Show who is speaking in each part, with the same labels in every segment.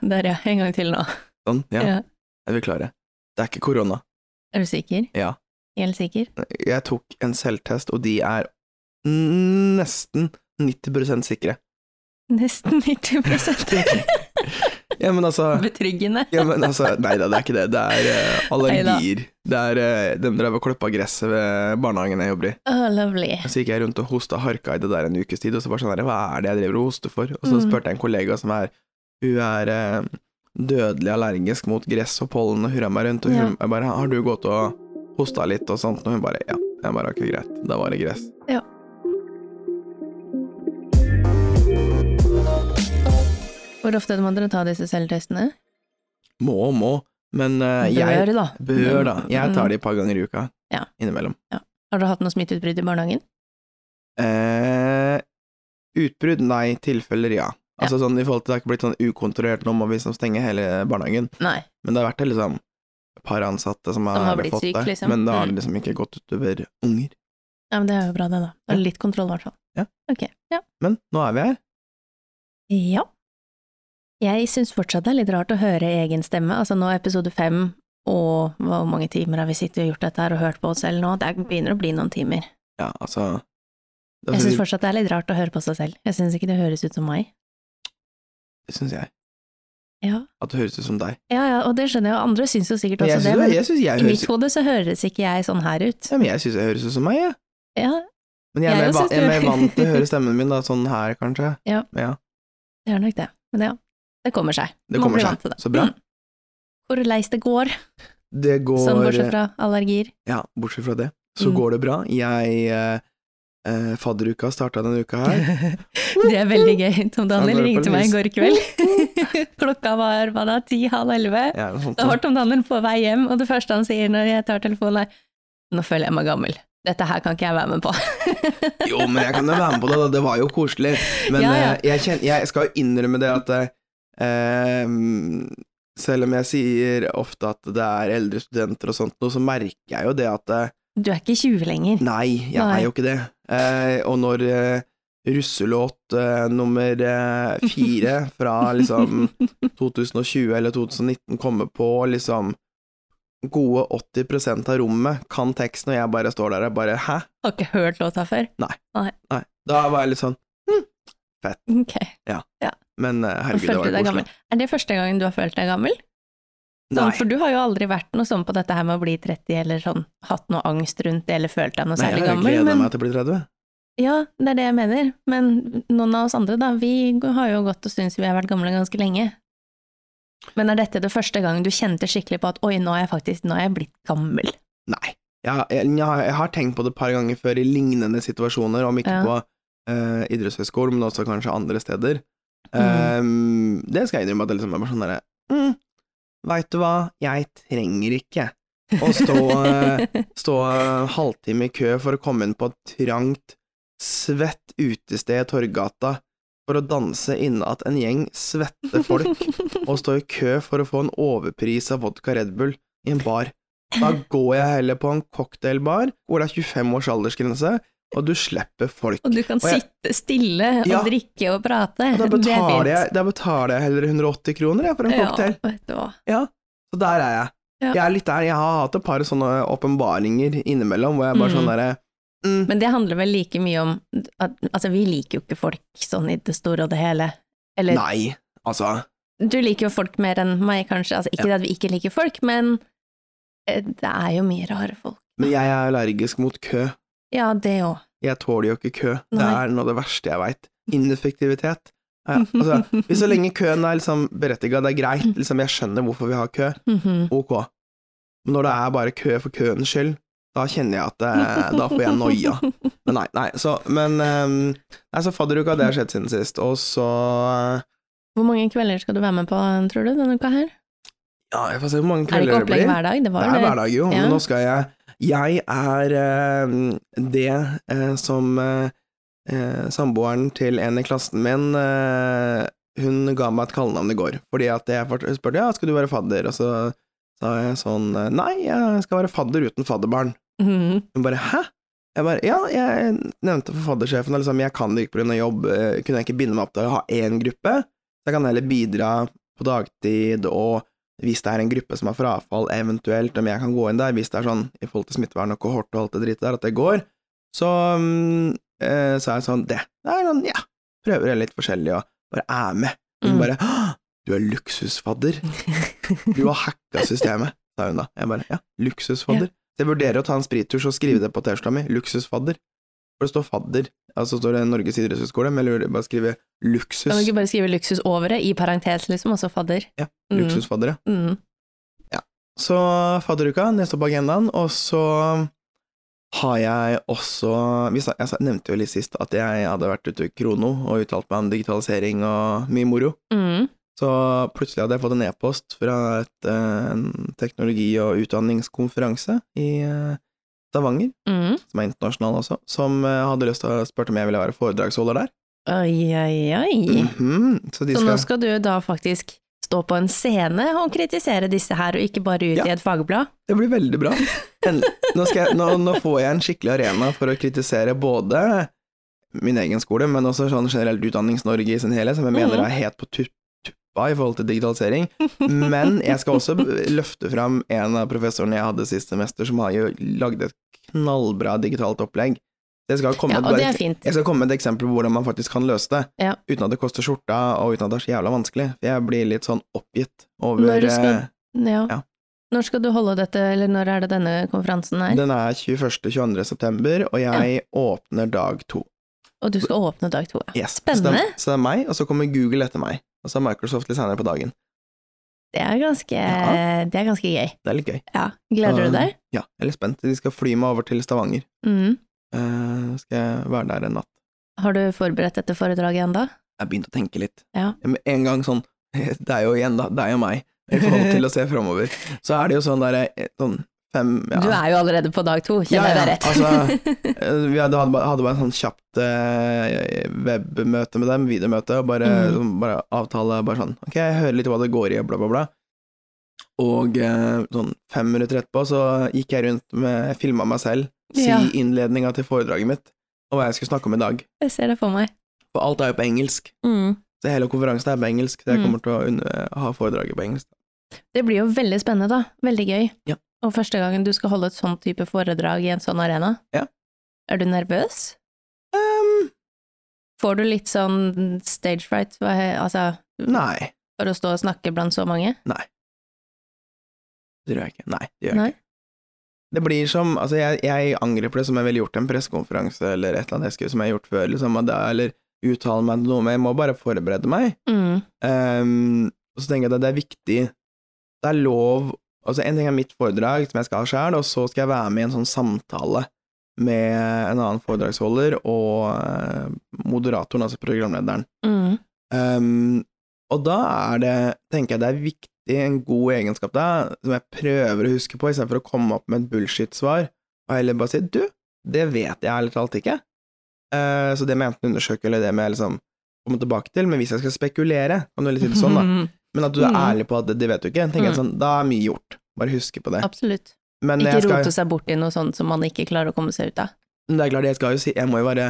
Speaker 1: Der, ja. En gang til nå.
Speaker 2: Sånn, ja.
Speaker 1: Ja.
Speaker 2: Er vi klare? Det er ikke korona.
Speaker 1: Er du sikker?
Speaker 2: Ja.
Speaker 1: Helt sikker?
Speaker 2: Jeg tok en selvtest, og de er nesten 90 sikre.
Speaker 1: Nesten 90
Speaker 2: Ja, men altså
Speaker 1: Betryggende.
Speaker 2: ja, men altså, Nei da, det er ikke det. Det er eh, allergier. Det er eh, De drev og klippa gresset ved barnehagen jeg jobber i.
Speaker 1: Å, lovely.
Speaker 2: Så gikk jeg rundt og hosta harka i det der en ukes tid, og så bare sånn her, hva er det jeg driver og hoster for? Og så
Speaker 1: Mm.
Speaker 2: spurte jeg en kollega som er Hun er eh, dødelig allergisk mot gress og pollen og hurra meg rundt, og hun jeg bare Har du gått og hosta litt og sånt? Og hun bare Ja. Jeg bare Ok, greit. Da var det gress.
Speaker 1: Ja. Hvor ofte må dere ta disse selvtestene?
Speaker 2: Må og må, men eh, jeg
Speaker 1: Bør, da.
Speaker 2: Bør, da. Jeg tar
Speaker 1: Mm.
Speaker 2: det et par ganger i uka.
Speaker 1: Ja.
Speaker 2: Innimellom.
Speaker 1: Har dere hatt noe smitteutbrudd i barnehagen?
Speaker 2: Eh, utbrudd? Nei. Tilfeller? Ja. Altså sånn i forhold til Det har ikke blitt sånn ukontrollert nå må vi liksom stenge hele barnehagen,
Speaker 1: Nei.
Speaker 2: men det har vært det liksom et par ansatte som har,
Speaker 1: har blitt
Speaker 2: fått
Speaker 1: syk,
Speaker 2: det,
Speaker 1: liksom.
Speaker 2: men det har
Speaker 1: Mm.
Speaker 2: liksom ikke gått utover unger.
Speaker 1: Ja, men Det er jo bra, det, da. Da er det litt kontroll, i hvert fall.
Speaker 2: Ja.
Speaker 1: Ok. Ja.
Speaker 2: Men nå er vi her.
Speaker 1: ja. Jeg syns fortsatt det er litt rart å høre egen stemme. Altså, nå er episode fem, og hva- hvor mange timer har vi sittet og gjort dette her og hørt på oss selv nå? Det begynner å bli noen timer.
Speaker 2: Ja, altså Det
Speaker 1: Jeg
Speaker 2: syns
Speaker 1: syns fortsatt det er litt rart å høre på seg selv. Jeg syns ikke det høres ut som meg.
Speaker 2: syns jeg.
Speaker 1: Ja,
Speaker 2: At det høres ut som deg.
Speaker 1: ja, ja og det skjønner jeg, og andre syns jo sikkert
Speaker 2: Men jeg
Speaker 1: også
Speaker 2: syns
Speaker 1: det,
Speaker 2: jeg,
Speaker 1: men
Speaker 2: jeg, synes jeg,
Speaker 1: i mitt
Speaker 2: høres-
Speaker 1: hode så høres ikke jeg sånn her ut.
Speaker 2: ja, men jeg, synes jeg høres ut som meg, jeg.
Speaker 1: Ja,
Speaker 2: Men jeg er,
Speaker 1: Jeg
Speaker 2: mer,
Speaker 1: også
Speaker 2: van,
Speaker 1: synes
Speaker 2: jeg er
Speaker 1: du-
Speaker 2: mer vant til å høre stemmen min da, sånn her, kanskje.
Speaker 1: Ja. det er nok det. Men ja, det kommer seg.
Speaker 2: Det
Speaker 1: Man
Speaker 2: kommer
Speaker 1: blir
Speaker 2: seg.
Speaker 1: vant til det.
Speaker 2: Så bra.
Speaker 1: Mm. Hvor leis det går,
Speaker 2: Det går
Speaker 1: sånn bortsett fra allergier.
Speaker 2: Ja, bortsett fra det, så
Speaker 1: Mm.
Speaker 2: går det bra. Jeg eh, eh, Fadderuka starta denne uka her.
Speaker 1: Det er veldig gøy. Tom Daniel
Speaker 2: Han går på
Speaker 1: ringte meg i
Speaker 2: lys.
Speaker 1: går kveld. Klokka var hva da, ti, halv elleve.
Speaker 2: Ja, noe sånt.
Speaker 1: Da var Tom Daniel på vei hjem, og det første han sier når jeg tar telefonen er nå føler jeg meg gammel. Dette her kan ikke jeg være med på.
Speaker 2: Jo, men jeg kan jo være med på det, da. det var jo koselig. Men
Speaker 1: Ja, ja.
Speaker 2: eh, jeg, kjen- jeg skal jo innrømme det at eh, selv om jeg sier ofte at det er eldre studenter og sånt noe, så merker jeg jo det at eh,
Speaker 1: Du er ikke 20 lenger.
Speaker 2: Nei, jeg
Speaker 1: Nei.
Speaker 2: er jo ikke det. Eh, og når eh, russelåt eh, nummer eh, fire fra liksom 2020 eller 2019 kommer på, og liksom gode 80 av rommet kan teksten, og jeg bare står der og bare hæ?
Speaker 1: Har ikke hørt låta før.
Speaker 2: Nei. Da var jeg litt sånn
Speaker 1: Ok,
Speaker 2: Men eh,
Speaker 1: nå
Speaker 2: herregud, det
Speaker 1: følte du
Speaker 2: var
Speaker 1: deg
Speaker 2: jo
Speaker 1: gammel.
Speaker 2: koselig.
Speaker 1: Er det første gangen du har følt deg gammel? Sånn,
Speaker 2: Nei.
Speaker 1: for du har jo aldri vært noe sånn på dette her med å bli 30, eller sånn hatt noe angst rundt det, eller følt deg noe
Speaker 2: Nei,
Speaker 1: særlig
Speaker 2: jeg
Speaker 1: gammel.
Speaker 2: gleder
Speaker 1: Men,
Speaker 2: meg til å bli 30.
Speaker 1: ja, det er det jeg mener. Men noen av oss andre, da, vi har jo gått og syntes vi har vært gamle ganske lenge. Men er dette det første gangen du kjente skikkelig på at oi, nå er jeg faktisk nå er jeg blitt gammel?
Speaker 2: Nei. Jeg, jeg, jeg, har, jeg har tenkt på det et par ganger før i lignende situasjoner, om ikke
Speaker 1: Ja.
Speaker 2: på uh, idrettshøyskolen, men også kanskje andre steder.
Speaker 1: Mhm.
Speaker 2: Ehm, det skal jeg innrømme at det liksom er bare sånn derre mm, Veit du hva, jeg trenger ikke å stå, eh, stå en halvtime i kø for å komme inn på et trangt, svett utested i Torggata for å danse innat en gjeng svette folk og stå i kø for å få en overpris av vodka Red Bull i en bar. Da går jeg heller på en cocktailbar hvor det er 25 års aldersgrense, og du slipper folk.
Speaker 1: Og du kan
Speaker 2: Og jeg-
Speaker 1: sitte stille og
Speaker 2: Ja.
Speaker 1: drikke og prate.
Speaker 2: Og da
Speaker 1: Det er fint.
Speaker 2: betaler, jeg, da betaler jeg heller 180 kroner jeg, for en cocktail.
Speaker 1: Ja, vet du hva.
Speaker 2: Så der er jeg.
Speaker 1: Ja.
Speaker 2: Jeg er litt der. Jeg har hatt et par sånne åpenbaringer innimellom hvor jeg bare
Speaker 1: Mm.
Speaker 2: sånn derre mm,
Speaker 1: Men det handler vel like mye om at altså, vi liker jo ikke folk sånn i det store og det hele. Eller
Speaker 2: Nei, altså.
Speaker 1: du liker jo folk mer enn meg, kanskje. Altså, ikke at vi ikke liker folk, men eh, det er jo mye rare folk.
Speaker 2: Men jeg er allergisk mot kø.
Speaker 1: Ja, det òg.
Speaker 2: Jeg tåler jo ikke kø. Det
Speaker 1: Nei.
Speaker 2: er noe av det verste jeg veit. Ineffektivitet. Ja, altså, hvis så lenge køen er liksom berettiga, det er
Speaker 1: Mm.
Speaker 2: greit, liksom, jeg skjønner hvorfor vi har kø, ok. Men når det er bare kø for køens skyld, da kjenner jeg at eh, Da får jeg noia. Men nei, nei, så Men ehm, nei, så fadderuka, det har skjedd siden sist, og så eh,
Speaker 1: Hvor mange kvelder skal du være med på, tror du, denne uka her?
Speaker 2: Ja, jeg får se hvor mange
Speaker 1: Er det
Speaker 2: kvelder
Speaker 1: ikke
Speaker 2: det blir.
Speaker 1: opplegg hver dag? Det
Speaker 2: Det
Speaker 1: var
Speaker 2: er
Speaker 1: jo det.
Speaker 2: hverdag, jo.
Speaker 1: Ja.
Speaker 2: Men nå skal jeg Jeg er eh, det eh, som eh, eh, samboeren til en i klassen min eh, Hun ga meg et kallenavn i går, fordi at jeg fort- spurte ja, skal du være fadder, og så sa jeg sånn eh, Nei, jeg skal være fadder uten fadderbarn.
Speaker 1: Mhm.
Speaker 2: Hun bare hæ? Jeg bare ja, jeg nevnte for faddersjefen at liksom, jeg kan det ikke pga. jobb, eh, kunne jeg ikke binde meg opp til å ha én gruppe, så jeg kan heller bidra på dagtid, og hvis det er en gruppe som har frafall, eventuelt om jeg kan gå inn der, hvis det er sånn i forhold til smittevern og kohort og alt det dritet der, at det går, så mm, eh, så er jeg sånn Det det er sånn, ja, prøver jeg litt forskjellig og bare er med. Hun
Speaker 1: Mm.
Speaker 2: bare «Åh, Du er luksusfadder. Du har hacka systemet, sa hun da. Jeg bare ja, luksusfadder. Så jeg vurderer å ta en sprittusj og skrive det på T-skjorta mi, luksusfadder. For det står fadder, altså står det Norges idrettshøgskole, men jeg lurer- bare skrive luksus,
Speaker 1: Kan du ikke bare skrive luksus over det, i parentes liksom, og så fadder?
Speaker 2: Ja,
Speaker 1: Mm,
Speaker 2: luksusfadder, ja.
Speaker 1: Mm.
Speaker 2: Så fadderuka, neste på agendaen, og så har jeg også vi sa- Jeg sa- nevnte jo litt sist at jeg hadde vært ute i Krono og uttalt meg om digitalisering og mye moro.
Speaker 1: Mm.
Speaker 2: Så plutselig hadde jeg fått en e-post fra et, eh, en teknologi- og utdanningskonferanse i eh, Stavanger,
Speaker 1: Mm.
Speaker 2: som er internasjonal også, som eh, hadde lyst til å spørre om jeg ville være foredragsholder der.
Speaker 1: Oi, oi, oi.
Speaker 2: Mhm, Så de
Speaker 1: Så nå
Speaker 2: skal,
Speaker 1: skal du da faktisk stå på en scene og kritisere disse her, og ikke bare ut
Speaker 2: Ja.
Speaker 1: i et fagblad?
Speaker 2: det blir veldig bra. En, nå, skal jeg, nå, nå får jeg en skikkelig arena for å kritisere både min egen skole, men også sånn generelt Utdannings-Norge i sin helhet, som jeg mener
Speaker 1: Mhm.
Speaker 2: er helt på tu- tuppa i forhold til digitalisering. Men jeg skal også løfte fram en av professorene jeg hadde sist semester, som har jo lagd et knallbra digitalt opplegg. Jeg skal, komme
Speaker 1: Ja,
Speaker 2: med
Speaker 1: og det
Speaker 2: bare,
Speaker 1: er fint.
Speaker 2: jeg skal komme med et eksempel på hvordan man faktisk kan løse det,
Speaker 1: Ja.
Speaker 2: uten at det koster skjorta, og uten at det er så jævla vanskelig. Jeg blir litt sånn oppgitt over
Speaker 1: Når skal-
Speaker 2: eh,
Speaker 1: Ja.
Speaker 2: Ja.
Speaker 1: Når skal du holde dette, eller når er det denne konferansen er?
Speaker 2: Den er 21.-22. september, og jeg åpner dag to.
Speaker 1: Og du skal åpne dag to. ja.
Speaker 2: Yes. Så det,
Speaker 1: Spennende.
Speaker 2: så det er meg, og så kommer Google etter meg. Og så er Microsoft litt senere på dagen.
Speaker 1: Det er ganske,
Speaker 2: Ja.
Speaker 1: det er ganske gøy.
Speaker 2: Det er litt gøy.
Speaker 1: Ja. Gleder
Speaker 2: Um,
Speaker 1: du deg?
Speaker 2: Ja, jeg er litt spent. De skal fly meg over til Stavanger.
Speaker 1: Mm.
Speaker 2: Eh, skal jeg være der en natt.
Speaker 1: Har du forberedt dette foredraget ennå?
Speaker 2: jeg begynte å tenke litt.
Speaker 1: Ja.
Speaker 2: Med en gang sånn Det er jo igjen, da. Det er jo meg. I forhold til å se framover. Så er det jo sånn derre eh, Sånn fem ja.
Speaker 1: Du er jo allerede på dag to,
Speaker 2: Ja,
Speaker 1: kjenner jeg
Speaker 2: ja,
Speaker 1: deg rett.
Speaker 2: altså, Eh, Vi hadde, hadde, bare, hadde bare en sånn kjapt eh, webmøte med dem, videomøte, og bare,
Speaker 1: Mhm.
Speaker 2: sånn, bare avtale bare sånn Ok, jeg hører litt hva det går i, og bla, bla, bla. Og eh, sånn fem minutter etterpå så gikk jeg rundt med Filma meg selv, si
Speaker 1: Ja.
Speaker 2: innledninga til foredraget mitt, og hva jeg skulle snakke om i dag.
Speaker 1: jeg ser det for meg.
Speaker 2: For alt er jo på engelsk.
Speaker 1: Mm.
Speaker 2: Så hele konferansen er på engelsk, så jeg
Speaker 1: Mm.
Speaker 2: kommer til å unn- ha foredraget på engelsk.
Speaker 1: Det blir jo veldig spennende, da. Veldig gøy.
Speaker 2: Ja.
Speaker 1: Og første gangen du skal holde et sånn type foredrag i en sånn arena.
Speaker 2: Ja.
Speaker 1: Er du nervøs?
Speaker 2: Ehm,
Speaker 1: Får du litt sånn stage fright hva he- altså,
Speaker 2: nei,
Speaker 1: for å stå og snakke blant så mange?
Speaker 2: det tror jeg ikke. Nei, det gjør jeg
Speaker 1: Nei?
Speaker 2: ikke. Det blir som, altså jeg, jeg angrer på det som jeg ville gjort til en pressekonferanse eller et eller annet jeg skulle, som jeg har gjort før, liksom, at det, er- eller uttale meg til noe, men jeg må bare forberede meg.
Speaker 1: Mm.
Speaker 2: Ehm, og så tenker jeg at det er viktig, det er lov, altså en ting er mitt foredrag som jeg skal ha selv, og så skal jeg være med i en sånn samtale med en annen foredragsholder og eh, moderatoren, altså programlederen.
Speaker 1: Mm.
Speaker 2: Um, og da er det, tenker jeg det er viktig, en god egenskap da, som jeg prøver å huske på, istedenfor å komme opp med et bullshit-svar, og heller bare si du, det vet jeg ærlig talt ikke. Eh, så det må jeg enten undersøke, eller det må jeg liksom komme tilbake til, men hvis jeg skal spekulere, kan du litt si det sånn, da, men at du er
Speaker 1: Mm.
Speaker 2: ærlig på at det, det vet du ikke, tenker jeg
Speaker 1: Mm.
Speaker 2: sånn, da er mye gjort. Bare huske på det.
Speaker 1: Absolutt.
Speaker 2: Men
Speaker 1: Ikke
Speaker 2: jeg skal,
Speaker 1: rote seg bort i noe sånt som man ikke klarer å komme seg ut av.
Speaker 2: Men det er klart, jeg skal jo si Jeg må jo være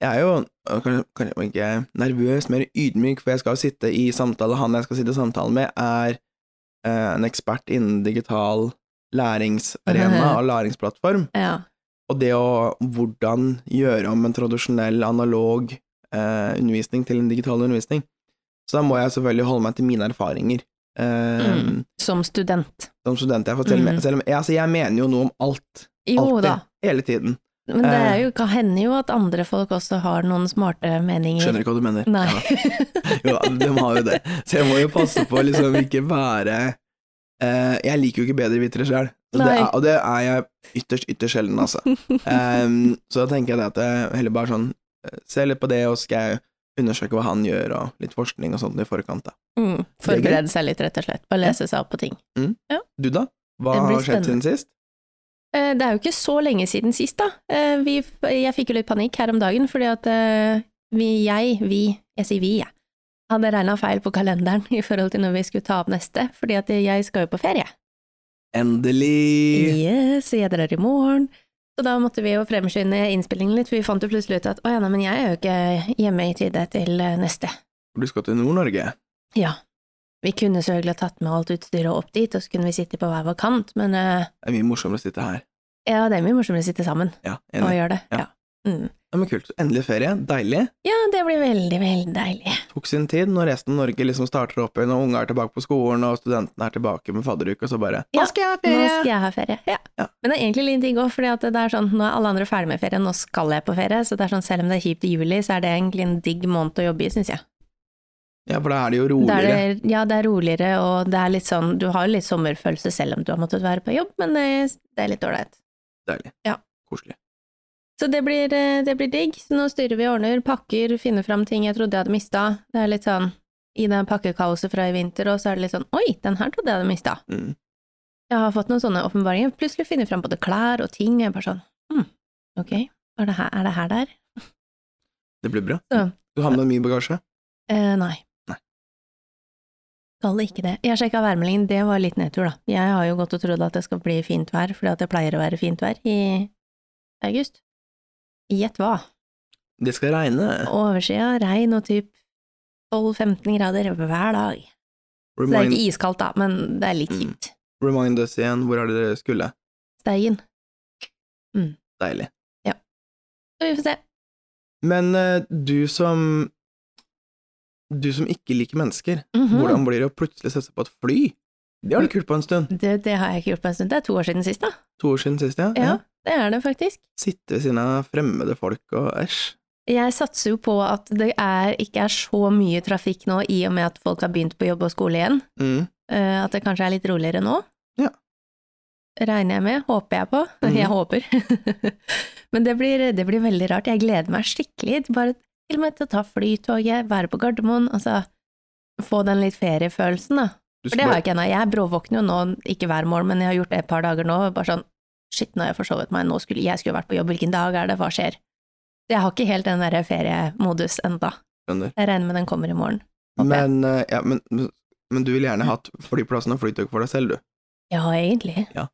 Speaker 2: Jeg er jo øh, kanskje, kanskje ikke nervøs, mer ydmyk, for jeg skal jo sitte i samtale Han jeg skal sitte i samtale med, er eh, en ekspert innen digital læringsarena og læringsplattform.
Speaker 1: Ja.
Speaker 2: Og det å hvordan gjøre om en tradisjonell analog eh, undervisning til en digital undervisning. Så da må jeg selvfølgelig holde meg til mine erfaringer. Eh,
Speaker 1: Mm. Som student.
Speaker 2: Som student jeg får selv,
Speaker 1: Mm.
Speaker 2: selv om jeg, altså, jeg mener jo noe om alt,
Speaker 1: Jo
Speaker 2: Alltid.
Speaker 1: da,
Speaker 2: hele tiden.
Speaker 1: men det er
Speaker 2: Eh.
Speaker 1: jo, kan hende jo at andre folk også har noen smarte meninger.
Speaker 2: Skjønner ikke hva du mener.
Speaker 1: Nei.
Speaker 2: Ja. Jo, de har jo det. Så jeg må jo passe på å liksom ikke være eh, Jeg liker jo ikke bedre vitere sjøl, og, det
Speaker 1: Nei.
Speaker 2: er- og det er jeg ytterst, ytterst sjelden, altså. Em, så da tenker jeg det at jeg heller bare sånn eh, Se litt på det, og skal jeg undersøke hva han gjør, og litt forskning og sånt i forkant, da.
Speaker 1: Mm. Forberede seg litt, rett og slett. Bare
Speaker 2: Ja.
Speaker 1: lese seg opp på ting.
Speaker 2: Du, da? Hva
Speaker 1: Det blir
Speaker 2: har skjedd siden sist?
Speaker 1: Eh, Det er jo ikke så lenge siden sist, da. Eh, Vi, jeg fikk jo litt panikk her om dagen, fordi at eh, vi, jeg, vi, jeg sier vi, jeg, hadde regna feil på kalenderen i forhold til når vi skulle ta opp neste, fordi at jeg skal jo på ferie.
Speaker 2: Endelig!
Speaker 1: Yes, jeg drar i morgen. Så da måtte vi jo fremskynde innspillingen litt, for vi fant jo plutselig ut at å ja, nei, men jeg er jo ikke hjemme i tide til eh, neste.
Speaker 2: Du skal til Nord-Norge.
Speaker 1: Ja. Vi kunne selvfølgelig ha tatt med alt utstyret opp dit, og så kunne vi sitte på hver vår kant, men eh,
Speaker 2: Det er mye morsommere å sitte her.
Speaker 1: ja, det er mye morsommere å sitte sammen
Speaker 2: Ja,
Speaker 1: og
Speaker 2: enig.
Speaker 1: gjøre det.
Speaker 2: Ja.
Speaker 1: Ja. Mm.
Speaker 2: Ja, men kult. Endelig ferie. Deilig.
Speaker 1: ja, det blir veldig, veldig deilig.
Speaker 2: Tok sin tid når resten av Norge liksom starter opp igjen, og unga er tilbake på skolen, og studentene er tilbake med fadderuke, og så bare
Speaker 1: Ja,
Speaker 2: Nå skal jeg ha
Speaker 1: Nå
Speaker 2: ferie!
Speaker 1: skal jeg ha ferie. Ja.
Speaker 2: Ja.
Speaker 1: Men det er egentlig litt digg òg, for det er sånn, nå er alle andre ferdig med ferie, nå skal jeg på ferie. Så det er sånn, selv om det er kjipt i juli, så er det egentlig en digg måned å jobbe i, syns jeg.
Speaker 2: Ja, for da er det jo
Speaker 1: Da
Speaker 2: roligere.
Speaker 1: Er det, ja, det er roligere, og det er litt sånn, du har jo litt sommerfølelse selv om du har måttet være på jobb, men det, det er litt ålreit.
Speaker 2: Deilig.
Speaker 1: Ja.
Speaker 2: Koselig.
Speaker 1: Så det blir, eh, det blir digg. Så nå styrer vi og ordner, pakker, finner fram ting jeg trodde jeg hadde mista. Det er litt sånn i det pakkekaoset fra i vinter, og så er det litt sånn oi, den her trodde jeg hadde mista.
Speaker 2: Mm.
Speaker 1: Jeg har fått noen sånne åpenbaringer. Plutselig finner jeg fram både klær og ting, og jeg bare sånn hm, ok, er det her, er det her der?
Speaker 2: Det blir bra.
Speaker 1: Så.
Speaker 2: Du har med deg mye bagasje?
Speaker 1: Eh, nei.
Speaker 2: Nei.
Speaker 1: Skal ikke det. Jeg sjekka værmeldingen, det var litt nedtur, da. Jeg har jo gått og trodd at det skal bli fint vær, fordi at det pleier å være fint vær i august. Gjett hva?
Speaker 2: Det skal regne.
Speaker 1: Oversida, regn og typ 12-15 grader hver dag. Så det er
Speaker 2: Remind,
Speaker 1: ikke iskaldt, da, men det er litt
Speaker 2: Mm.
Speaker 1: kjipt.
Speaker 2: remind us igjen, hvor er det dere skulle?
Speaker 1: Steigen.
Speaker 2: Deilig.
Speaker 1: Så vi får se.
Speaker 2: Men eh, du som Du som ikke liker mennesker,
Speaker 1: Mhm.
Speaker 2: hvordan blir det å plutselig sette seg på et fly? Det har du kult på en stund.
Speaker 1: Det, det har jeg ikke gjort på en stund. Det er to år siden sist, da.
Speaker 2: To år siden sist, ja.
Speaker 1: Ja, det er det faktisk.
Speaker 2: Sitte ved siden av fremmede folk og æsj.
Speaker 1: Jeg satser jo på at det er, ikke er så mye trafikk nå, i og med at folk har begynt på jobb og skole igjen.
Speaker 2: Mm.
Speaker 1: Eh, at det kanskje er litt roligere nå.
Speaker 2: Ja.
Speaker 1: Regner jeg med, håper jeg på.
Speaker 2: Mhm.
Speaker 1: Jeg håper. Men det blir, det blir veldig rart. Jeg gleder meg skikkelig. Bare til og med til å ta flytoget, være på Gardermoen, altså få den litt feriefølelsen, da.
Speaker 2: Du
Speaker 1: For det har jeg ikke ennå. Jeg bråvåkner jo nå, ikke hver morgen, men jeg har gjort det et par dager nå. Bare sånn Shit, nå har jeg forsovet meg. Nå skulle jeg skulle vært på jobb. Hvilken dag er det? Hva skjer? Jeg har ikke helt den der feriemodus enda.
Speaker 2: Skjønner.
Speaker 1: Jeg regner med den kommer i morgen. håper jeg.
Speaker 2: Men, eh, ja, men, men du ville gjerne hatt flyplassen og flytog for deg selv, du.
Speaker 1: Ja, egentlig.
Speaker 2: Ja.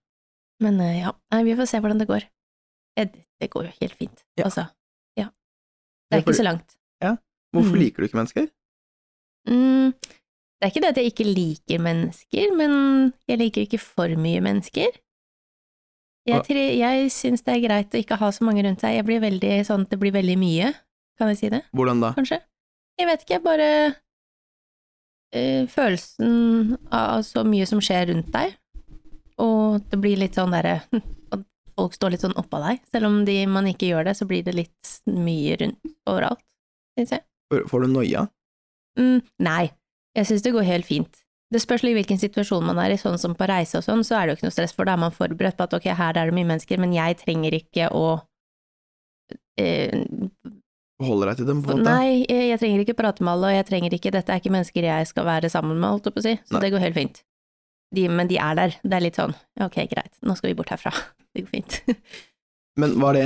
Speaker 1: Men eh, ja, Nei, vi får se hvordan det går. Eh, Det det går jo helt fint,
Speaker 2: Ja.
Speaker 1: altså. Ja. Det er
Speaker 2: Ja, for-
Speaker 1: ikke så langt.
Speaker 2: Hvorfor
Speaker 1: Mm.
Speaker 2: liker du ikke mennesker?
Speaker 1: Mm, det er ikke det at jeg ikke liker mennesker, men jeg liker ikke for mye mennesker. Jeg,
Speaker 2: Og-
Speaker 1: tri, jeg syns det er greit å ikke ha så mange rundt seg. Jeg blir veldig sånn, Det blir veldig mye, kan jeg si det,
Speaker 2: Hvordan da?
Speaker 1: kanskje? Jeg vet ikke, bare eh, følelsen av så mye som skjer rundt deg, og det blir litt sånn derre at Folk står litt sånn oppå deg. Selv om de, man ikke gjør det, så blir det litt mye rundt overalt, syns jeg.
Speaker 2: Får- Får du noia?
Speaker 1: Mm, nei, jeg synes det går helt fint. Det spørs litt hvilken situasjon man er i, sånn som på reise og sånn, så er det jo ikke noe stress, for da er man forberedt på at ok, her er det mye mennesker, men jeg trenger ikke å eh,
Speaker 2: Holder deg til dem, på en måte?
Speaker 1: Nei, eh, jeg trenger ikke prate med alle, og jeg trenger ikke Dette er ikke mennesker jeg skal være sammen med, holdt jeg på å si, så
Speaker 2: Nei.
Speaker 1: det går helt fint. De, men de er der. Det er litt sånn ok, greit, nå skal vi bort herfra. Det går fint.
Speaker 2: Men var det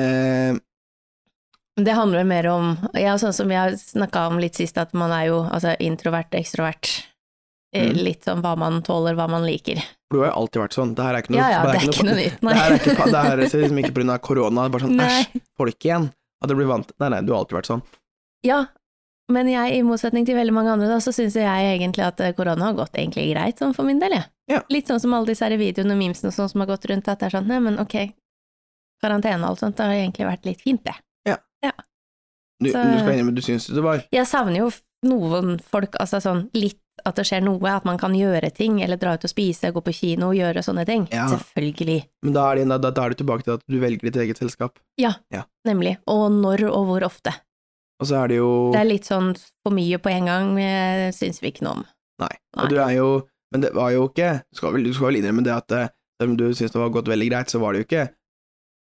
Speaker 1: Det handler vel mer om ja, Sånn som vi har snakka om litt sist, at man er jo altså, introvert, ekstrovert. Eh,
Speaker 2: Mm.
Speaker 1: Litt sånn hva man tåler, hva man liker.
Speaker 2: For du har jo alltid vært sånn. Det her er ikke noe
Speaker 1: ja, ja, det er
Speaker 2: noe-
Speaker 1: ikke noe nytt.
Speaker 2: Det her er ikke, pa- det her er liksom ikke pga. korona. Det er bare sånn
Speaker 1: Nei.
Speaker 2: æsj, folk igjen. At du blir vant Nei, nei, du har alltid vært sånn.
Speaker 1: Ja, men jeg, i motsetning til veldig mange andre, da, så syns jeg egentlig at eh, korona har gått egentlig greit, sånn for min del, jeg.
Speaker 2: Ja.
Speaker 1: Litt sånn som alle disse her videoene og memesene og sånn som har gått rundt, at det er sånn, nei, men ok, karantene og alt sånt, det har egentlig vært litt fint, det.
Speaker 2: Du,
Speaker 1: Så-
Speaker 2: du skal innrømme, du syns jo det var
Speaker 1: Jeg savner jo noen folk, altså sånn litt at det skjer noe, at man kan gjøre ting, eller dra ut og spise, gå på kino, gjøre sånne ting.
Speaker 2: Ja.
Speaker 1: Selvfølgelig.
Speaker 2: Men da er, det, da, da er du tilbake til at du velger ditt eget selskap.
Speaker 1: Nemlig. Og når og hvor ofte.
Speaker 2: Og så er det jo
Speaker 1: Det er litt sånn for mye på en gang, eh, syns vi ikke noe om.
Speaker 2: Nei.
Speaker 1: Nei.
Speaker 2: Og du er jo Men det var jo ikke Du skal vel, du skal vel innrømme det at eh, selv om du syns det var gått veldig greit, så var det jo ikke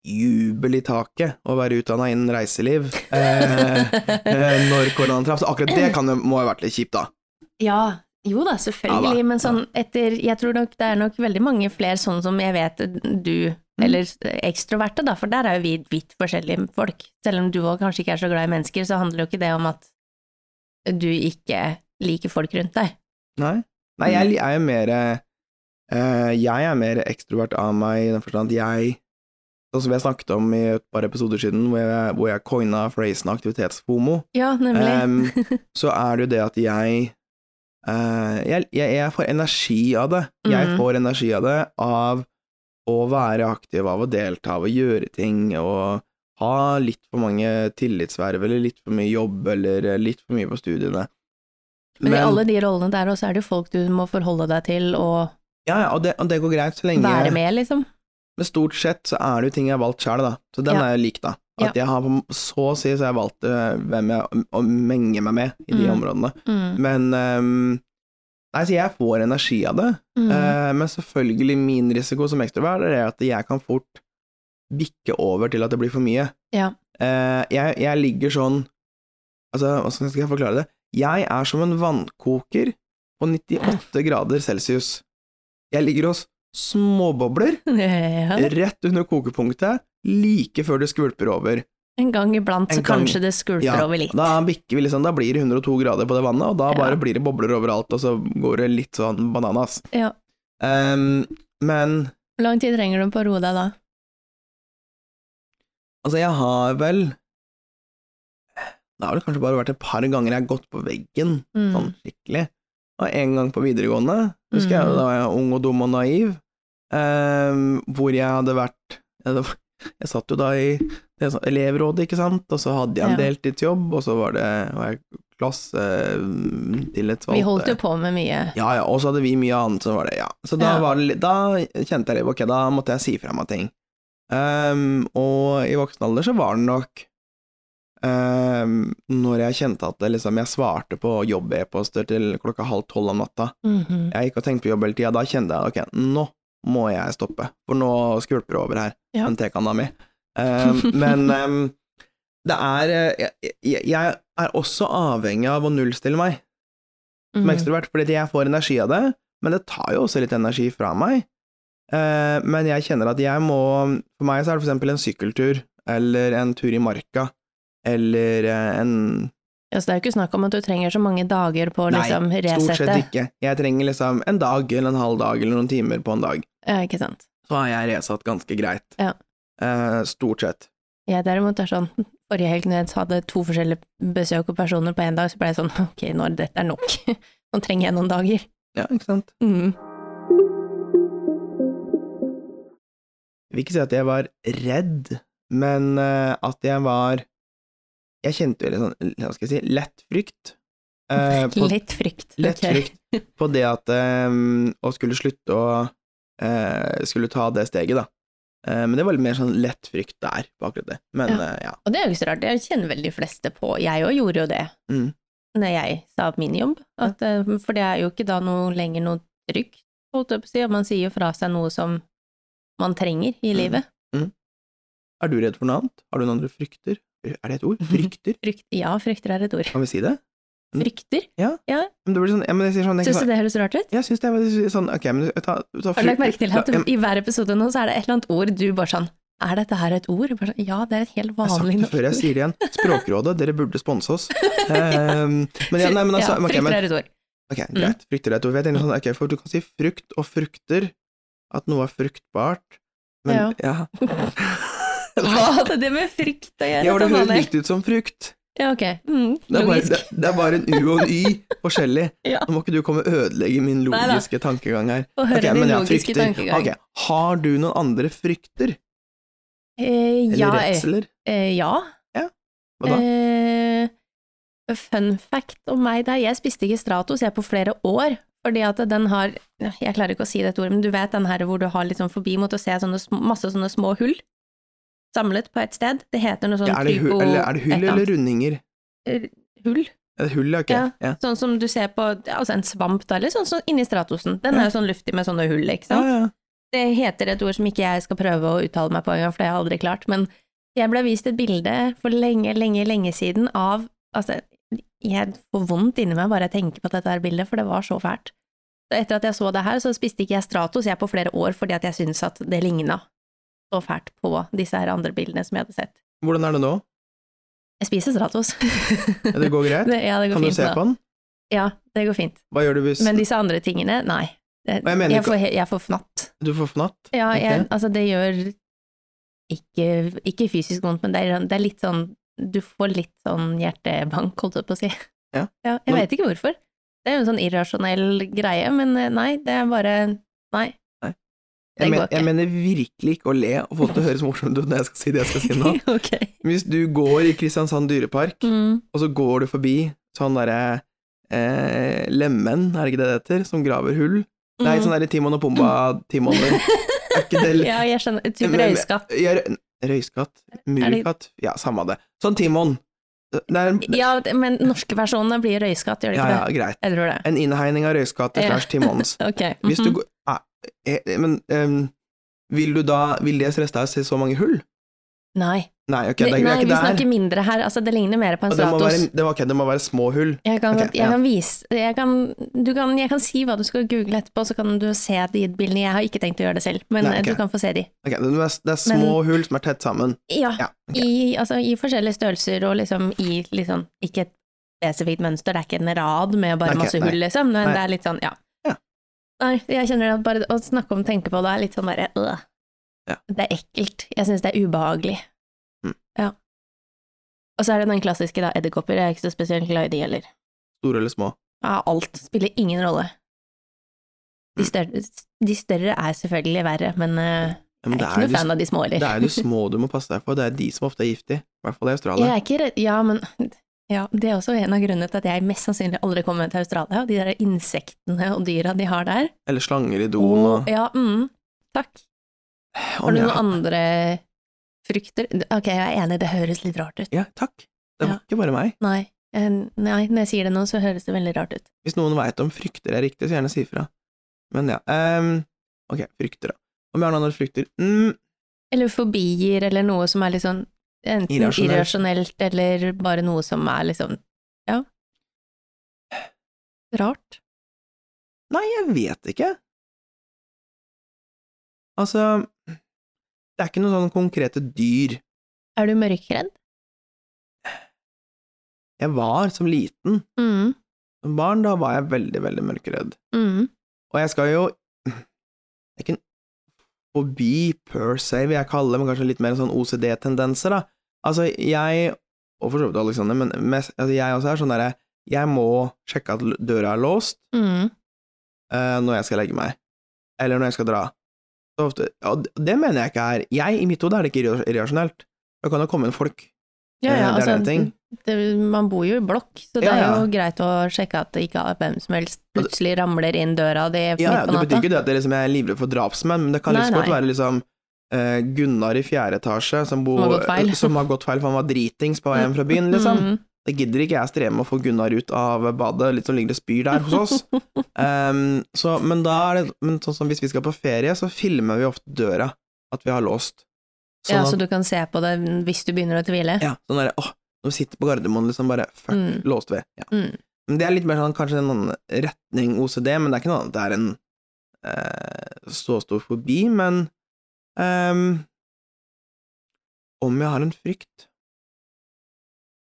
Speaker 2: jubel i taket å være utdanna innen reiseliv eh, eh, når koronaen traff. Så akkurat det kan, jo- må ha vært litt kjipt, da.
Speaker 1: Ja, jo da, selvfølgelig,
Speaker 2: Ja da,
Speaker 1: men sånn etter Jeg tror nok det er nok veldig mange flere sånn som jeg vet du, eller ekstroverte, da, for der er jo vi vidt forskjellige folk. Selv om du òg kanskje ikke er så glad i mennesker, så handler jo ikke det om at du ikke liker folk rundt deg.
Speaker 2: Nei. Nei, jeg er jo mer eh, Jeg er mer ekstrovert av meg i den forstand at jeg Sånn som jeg snakket om i et par episoder siden, hvor jeg, hvor jeg coina phrasen aktivitetsfomo,
Speaker 1: Ja, nemlig.
Speaker 2: Ehm, så er det jo det at jeg Eh, jeg, jeg, jeg får energi av det. Jeg
Speaker 1: Mhm.
Speaker 2: får energi av det av å være aktiv, av å delta, av å gjøre ting, og ha litt for mange tillitsverv, eller litt for mye jobb, eller eh, litt for mye på studiene.
Speaker 1: Men, i alle de rollene der også er det jo folk du må forholde deg til og
Speaker 2: ja, ja, og, det, og det går greit så lenge
Speaker 1: være med, liksom.
Speaker 2: Men stort sett så er det jo ting jeg har valgt sjøl, da. Så den
Speaker 1: Ja.
Speaker 2: er jo lik, da. At jeg har på- så å si så har jeg valgt eh, hvem jeg å menge meg med i de
Speaker 1: Mm.
Speaker 2: områdene.
Speaker 1: Mm.
Speaker 2: Men ehm, Nei, så jeg får energi av det.
Speaker 1: Mm.
Speaker 2: Eh, men selvfølgelig min risiko som ekstrovert er at jeg kan fort bikke over til at det blir for mye.
Speaker 1: Ja.
Speaker 2: Eh, jeg, jeg ligger sånn Altså, hvordan skal jeg forklare det? Jeg er som en vannkoker på 98 grader celsius. Jeg ligger hos småbobler
Speaker 1: ja.
Speaker 2: rett under kokepunktet, like før det skvulper over.
Speaker 1: En gang iblant,
Speaker 2: En
Speaker 1: så
Speaker 2: gang-
Speaker 1: kanskje det skulper
Speaker 2: Ja,
Speaker 1: over litt.
Speaker 2: Da, bikker vi liksom, da blir det 102 grader på det vannet, og da
Speaker 1: Ja.
Speaker 2: bare blir det bobler overalt, og så går det litt sånn bananas.
Speaker 1: Ja.
Speaker 2: Ehm, men
Speaker 1: Hvor lang tid trenger du på å roe deg da?
Speaker 2: Altså, jeg har vel Det har vel kanskje bare vært et par ganger jeg har gått på veggen,
Speaker 1: Mm.
Speaker 2: sånn skikkelig. Og en gang på videregående, husker jeg
Speaker 1: Mm.
Speaker 2: jo da var jeg ung og dum og naiv, ehm, hvor jeg hadde vært jeg, hadde- jeg satt jo da i det sånn elevrådet, ikke sant, og så hadde jeg en
Speaker 1: Ja.
Speaker 2: deltidsjobb, og så var det var jeg mm, klassetillitsvalgt.
Speaker 1: Vi holdt jo på med mye.
Speaker 2: Ja, ja, og så hadde vi mye annet som var det, ja. Så da,
Speaker 1: Ja.
Speaker 2: var det, litt- da kjente jeg litt, ok, da måtte jeg si fra meg ting. Ehm, og i voksen alder så var det nok ehm, Når jeg kjente at det, liksom, jeg svarte på jobb-e-poster til klokka halv tolv om natta
Speaker 1: Mhm.
Speaker 2: Jeg gikk og tenkte på jobb hele tida, da kjente jeg ok, nå må jeg stoppe, for nå skvulper det over her,
Speaker 1: Ja.
Speaker 2: den tekanna mi. Ehm, men ehm, det er eh, jeg, jeg- jeg er også avhengig av å nullstille meg som
Speaker 1: Mhm.
Speaker 2: ekstrovert, fordi at jeg får energi av det, men det tar jo også litt energi fra meg. Eh, men jeg kjenner at jeg må For meg så er det for eksempel en sykkeltur, eller en tur i marka, eller eh, en
Speaker 1: Ja, så det er jo ikke snakk om at du trenger så mange dager på å
Speaker 2: Nei,
Speaker 1: liksom
Speaker 2: Stort sett
Speaker 1: resette.
Speaker 2: ikke. Jeg trenger liksom en dag eller en halv dag eller noen timer på en dag.
Speaker 1: Ja, ikke sant.
Speaker 2: Så har jeg resatt ganske greit.
Speaker 1: Ja.
Speaker 2: Eh, stort sett.
Speaker 1: Jeg derimot er sånn, forrige helg når jeg hadde to forskjellige besøk og personer på en dag, så ble jeg sånn, ok, nå er dette er nok. Nå trenger jeg noen dager.
Speaker 2: Ja, ikke sant.
Speaker 1: Mhm.
Speaker 2: Jeg vil ikke si at jeg var redd, men eh, at jeg var Jeg kjente jo litt sånn, hva skal jeg si, lett frykt. eh, på-
Speaker 1: Litt frykt.
Speaker 2: Lett
Speaker 1: ok.
Speaker 2: frykt på det at ehm, Å skulle slutte å eh, Skulle ta det steget, da. Eh, men det var litt mer sånn lett frykt der, på akkurat det. Men
Speaker 1: Ja.
Speaker 2: eh, ja.
Speaker 1: Og det er jo ikke så rart, jeg kjenner vel de fleste på, jeg òg gjorde jo det
Speaker 2: Mm.
Speaker 1: når jeg sa opp min jobb, at, eh, for det er jo ikke da noe lenger noe trygt, holdt jeg på å si, og man sier jo fra seg noe som man trenger i
Speaker 2: Mm.
Speaker 1: livet.
Speaker 2: Er du redd for noe annet? Har du noen andre frykter? Er det et
Speaker 1: Mhm.
Speaker 2: ord? Frykter?
Speaker 1: Frykt, ja, frykter er et ord.
Speaker 2: Kan vi si det? Mm.
Speaker 1: Frykter?
Speaker 2: Men det blir sånn, ja, men jeg sier sånn jeg,
Speaker 1: Syns du det høres rart ut?
Speaker 2: jeg syns det er sånn Ok, men ta, ta
Speaker 1: Har du lagt merke til at
Speaker 2: Ja,
Speaker 1: i hver episode nå så er det et eller annet ord du bare sånn Er dette her et ord? Bare sånn, ja, det er et helt
Speaker 2: Jeg har
Speaker 1: vanlig
Speaker 2: sagt det før, jeg sier det igjen. Språkrådet, dere burde sponse oss. Ehm, men, ja, nei, men altså,
Speaker 1: ja,
Speaker 2: ok, men,
Speaker 1: frykter er et ord.
Speaker 2: Ok,
Speaker 1: Mm.
Speaker 2: greit. Frykter er et ord. Jeg tenker sånn, ok, for du kan si frukt og frukter, at noe er fruktbart, men ja.
Speaker 1: Hva hadde det med frykt å gjøre?
Speaker 2: Ja, for det
Speaker 1: Tom
Speaker 2: høres
Speaker 1: Hanel?
Speaker 2: likt ut som frukt.
Speaker 1: ja ok. Mm,
Speaker 2: Det er, bare,
Speaker 1: logisk.
Speaker 2: det, det er bare en U og en Y forskjellig.
Speaker 1: Ja.
Speaker 2: Nå må ikke du komme og ødelegge min
Speaker 1: Neida.
Speaker 2: logiske tankegang her.
Speaker 1: Få høre
Speaker 2: Ok, men
Speaker 1: din
Speaker 2: ja,
Speaker 1: logiske
Speaker 2: frykter.
Speaker 1: tankegang.
Speaker 2: Ok, Har du noen andre frykter?
Speaker 1: Eh,
Speaker 2: Eller
Speaker 1: ja, eh,
Speaker 2: redsler?
Speaker 1: eh, ja.
Speaker 2: Hva da?
Speaker 1: Eh, fun fact om meg der, jeg spiste ikke Stratos jeg på flere år, fordi at den har Jeg klarer ikke å si dette ordet, men du vet den her hvor du har litt sånn forbi mot å se sånne, sm- masse sånne små hull samlet på et sted? Det heter noe sånn
Speaker 2: Ja, er, det hull,
Speaker 1: krypo-
Speaker 2: eller, er det
Speaker 1: et
Speaker 2: hull eller
Speaker 1: annet.
Speaker 2: rundinger?
Speaker 1: Hull?
Speaker 2: Er det hull, ja, ok.
Speaker 1: Ja.
Speaker 2: Ja.
Speaker 1: Sånn som du ser på altså en svamp, da, eller sånn som inni Stratosen. Den
Speaker 2: Ja.
Speaker 1: er jo sånn luftig med sånne hull, ikke
Speaker 2: Ja,
Speaker 1: sant?
Speaker 2: ja.
Speaker 1: Det heter et ord som ikke jeg skal prøve å uttale meg på engang, for det har jeg aldri klart, men jeg ble vist et bilde for lenge, lenge, lenge siden av Altså, jeg får vondt inni meg bare jeg tenker på dette her bildet, for det var så fælt. Så etter at jeg så det her, så spiste ikke jeg Stratos jeg på flere år fordi at jeg syntes at det ligna så fælt på disse her andre bildene som jeg hadde sett.
Speaker 2: Hvordan er det nå?
Speaker 1: Jeg spiser Stratos.
Speaker 2: Ja, Det går greit?
Speaker 1: Det- ja, det går
Speaker 2: Kan du
Speaker 1: fint
Speaker 2: se
Speaker 1: nå.
Speaker 2: på den?
Speaker 1: Ja, det går fint.
Speaker 2: Hva gjør du hvis
Speaker 1: Men disse andre tingene, nei. Jeg,
Speaker 2: Og jeg mener
Speaker 1: jeg,
Speaker 2: ikke-
Speaker 1: får, he- jeg får fnatt.
Speaker 2: du får fnatt?
Speaker 1: Ja,
Speaker 2: Ok.
Speaker 1: jeg, altså det gjør ikke, ikke fysisk vondt, men det er, det er litt sånn Du får litt sånn hjertebank, holdt jeg på å si.
Speaker 2: Ja.
Speaker 1: jeg
Speaker 2: Men-
Speaker 1: vet ikke hvorfor. Det er jo en sånn irrasjonell greie, men eh, nei, det er bare Nei. Det
Speaker 2: Jeg,
Speaker 1: går
Speaker 2: men,
Speaker 1: ikke.
Speaker 2: jeg mener virkelig ikke å le og få det til å høres morsomt ut når jeg skal si det jeg skal si nå.
Speaker 1: ok.
Speaker 2: Hvis du går i Kristiansand dyrepark,
Speaker 1: Mm.
Speaker 2: og så går du forbi sånn derre eh, Lemen, er det ikke det det heter? Som graver hull? Nei,
Speaker 1: Mm.
Speaker 2: sånn derre Timon og Pumba, Timon Er ikke det
Speaker 1: Ja, jeg skjønner.
Speaker 2: Men-
Speaker 1: Type
Speaker 2: men-
Speaker 1: røyskatt.
Speaker 2: Ja, rø- Røyskatt? Murkatt? Ja, samme det. Sånn Timon. Det er en,
Speaker 1: Ja, det- men norske versjonene blir røyskatt, gjør det
Speaker 2: ja,
Speaker 1: ikke
Speaker 2: ja, greit.
Speaker 1: det? Jeg tror det.
Speaker 2: En innhegning av røyskatter
Speaker 1: Ja.
Speaker 2: slash Timons.
Speaker 1: Ok.
Speaker 2: Hvis du
Speaker 1: mhm.
Speaker 2: går ah, eh, Men ehm, vil du da Vil det stresse deg å se så mange hull?
Speaker 1: Nei.
Speaker 2: Nei, ok, det, er- det
Speaker 1: nei,
Speaker 2: er
Speaker 1: vi
Speaker 2: ikke der.
Speaker 1: snakker mindre her. Altså, det ligner mer på en
Speaker 2: Og det, må
Speaker 1: stratos.
Speaker 2: være, det, var- ok, det må være små hull.
Speaker 1: Jeg kan,
Speaker 2: Ok,
Speaker 1: godt- jeg
Speaker 2: ja.
Speaker 1: kan vise jeg kan, du kan, jeg kan si hva du skal google etterpå, så kan du se de bildene. Jeg har ikke tenkt å gjøre det selv, men
Speaker 2: Nei,
Speaker 1: eh, du
Speaker 2: ok.
Speaker 1: kan få se de.
Speaker 2: Ok, det er, det er små hull som er tett sammen.
Speaker 1: Ja,
Speaker 2: Ja, ok.
Speaker 1: i, altså, i forskjellige størrelser og liksom i liksom, ikke et spesifikt mønster, det er ikke en rad med bare
Speaker 2: Nei, ok,
Speaker 1: masse
Speaker 2: nei.
Speaker 1: hull, liksom, men
Speaker 2: Nei.
Speaker 1: det er litt sånn, ja.
Speaker 2: Ja.
Speaker 1: Nei, jeg kjenner at bare å snakke om tenke på det er litt sånn bare øh.
Speaker 2: Ja.
Speaker 1: Det er ekkelt. Jeg syns det er ubehagelig.
Speaker 2: Mm.
Speaker 1: Ja. Og så er det den klassiske, da, edderkopper. Jeg er ikke så spesielt glad i de heller.
Speaker 2: Store eller små.
Speaker 1: Ja, alt spiller ingen rolle. De
Speaker 2: Mm.
Speaker 1: større, de større er selvfølgelig verre, men eh,
Speaker 2: Ja,
Speaker 1: jeg
Speaker 2: men
Speaker 1: er
Speaker 2: det
Speaker 1: ikke
Speaker 2: er,
Speaker 1: noe
Speaker 2: de,
Speaker 1: fan av de små
Speaker 2: det
Speaker 1: heller.
Speaker 2: er jo de små du må passe deg for. Det er de som ofte er giftige. I hvert fall i Australia.
Speaker 1: Jeg er ikke redd Ja, men ja, det er også en av grunnene til at jeg mest sannsynlig aldri kommer til Australia, og de der insektene og dyra de har der.
Speaker 2: Eller slanger i doen
Speaker 1: Åh,
Speaker 2: og
Speaker 1: ja, mm, takk.
Speaker 2: Å,
Speaker 1: Har du
Speaker 2: ja.
Speaker 1: noen andre frukter? Ok, jeg er enig, det høres litt rart ut.
Speaker 2: Ja, takk. Det var
Speaker 1: Ja.
Speaker 2: ikke bare meg.
Speaker 1: Nei, eh, nei, når jeg sier det nå, så høres det veldig rart ut.
Speaker 2: Hvis noen veit om frykter er riktig, så gjerne si ifra. Men ja. ehm, ok, frykter, da. Om jeg har noen andre frykter mm,
Speaker 1: Eller fobier, eller noe som er litt sånn enten
Speaker 2: Irrasjonelt.
Speaker 1: irrasjonelt, eller bare noe som er liksom Ja. Rart.
Speaker 2: Nei, jeg vet ikke. Altså Det er ikke noen sånne konkrete dyr.
Speaker 1: Er du mørkredd?
Speaker 2: Jeg var som liten,
Speaker 1: Mm.
Speaker 2: som barn, da var jeg veldig, veldig mørkeredd.
Speaker 1: Mm.
Speaker 2: Og jeg skal jo Det er ikke en fobi per se, vil jeg kalle det, men kanskje litt mer sånn OCD-tendenser, da. Altså, jeg, og for så vidt Alexander, men mest, altså, jeg også er sånn derre Jeg må sjekke at l- døra er låst
Speaker 1: Mm.
Speaker 2: eh, når jeg skal legge meg, eller når jeg skal dra. Så ofte, ja, d- det mener jeg ikke er Jeg, i mitt hode, er det ikke irra- irrasjonelt. Det kan jo komme inn folk.
Speaker 1: Ja, ja,
Speaker 2: Eh, det er
Speaker 1: altså,
Speaker 2: en ting.
Speaker 1: det, man bor jo i blokk, så det
Speaker 2: Ja,
Speaker 1: er
Speaker 2: ja.
Speaker 1: jo greit å sjekke at det ikke er hvem som helst plutselig ramler inn døra di midt
Speaker 2: Ja, ja,
Speaker 1: på
Speaker 2: det betyr
Speaker 1: natta.
Speaker 2: ikke det at det liksom, jeg er livredd for drapsmenn, men det kan
Speaker 1: Nei,
Speaker 2: liksom godt
Speaker 1: nei.
Speaker 2: være liksom eh, Gunnar i fjerde etasje som, bo,
Speaker 1: Som har gått feil.
Speaker 2: som har gått feil, for han var dritings på vei hjem fra byen, liksom.
Speaker 1: Mm.
Speaker 2: Det gidder ikke jeg streve med å få Gunnar ut av badet, litt sånn ligger det spyr der hos oss. Em, så, men da er det men sånn som hvis vi skal på ferie, så filmer vi ofte døra, at vi har låst. Sånn
Speaker 1: ja,
Speaker 2: at-
Speaker 1: så du kan se på det hvis du begynner å tvile.
Speaker 2: ja, sånn derre åh, når vi sitter på Gardermoen, liksom bare fuck,
Speaker 1: Mm.
Speaker 2: låste vi. Ja.
Speaker 1: Mm.
Speaker 2: Men det er litt mer sånn kanskje en annen retning OCD, men det er ikke noe annet. Det er en eh, så stor fobi, men ehm, om jeg har en frykt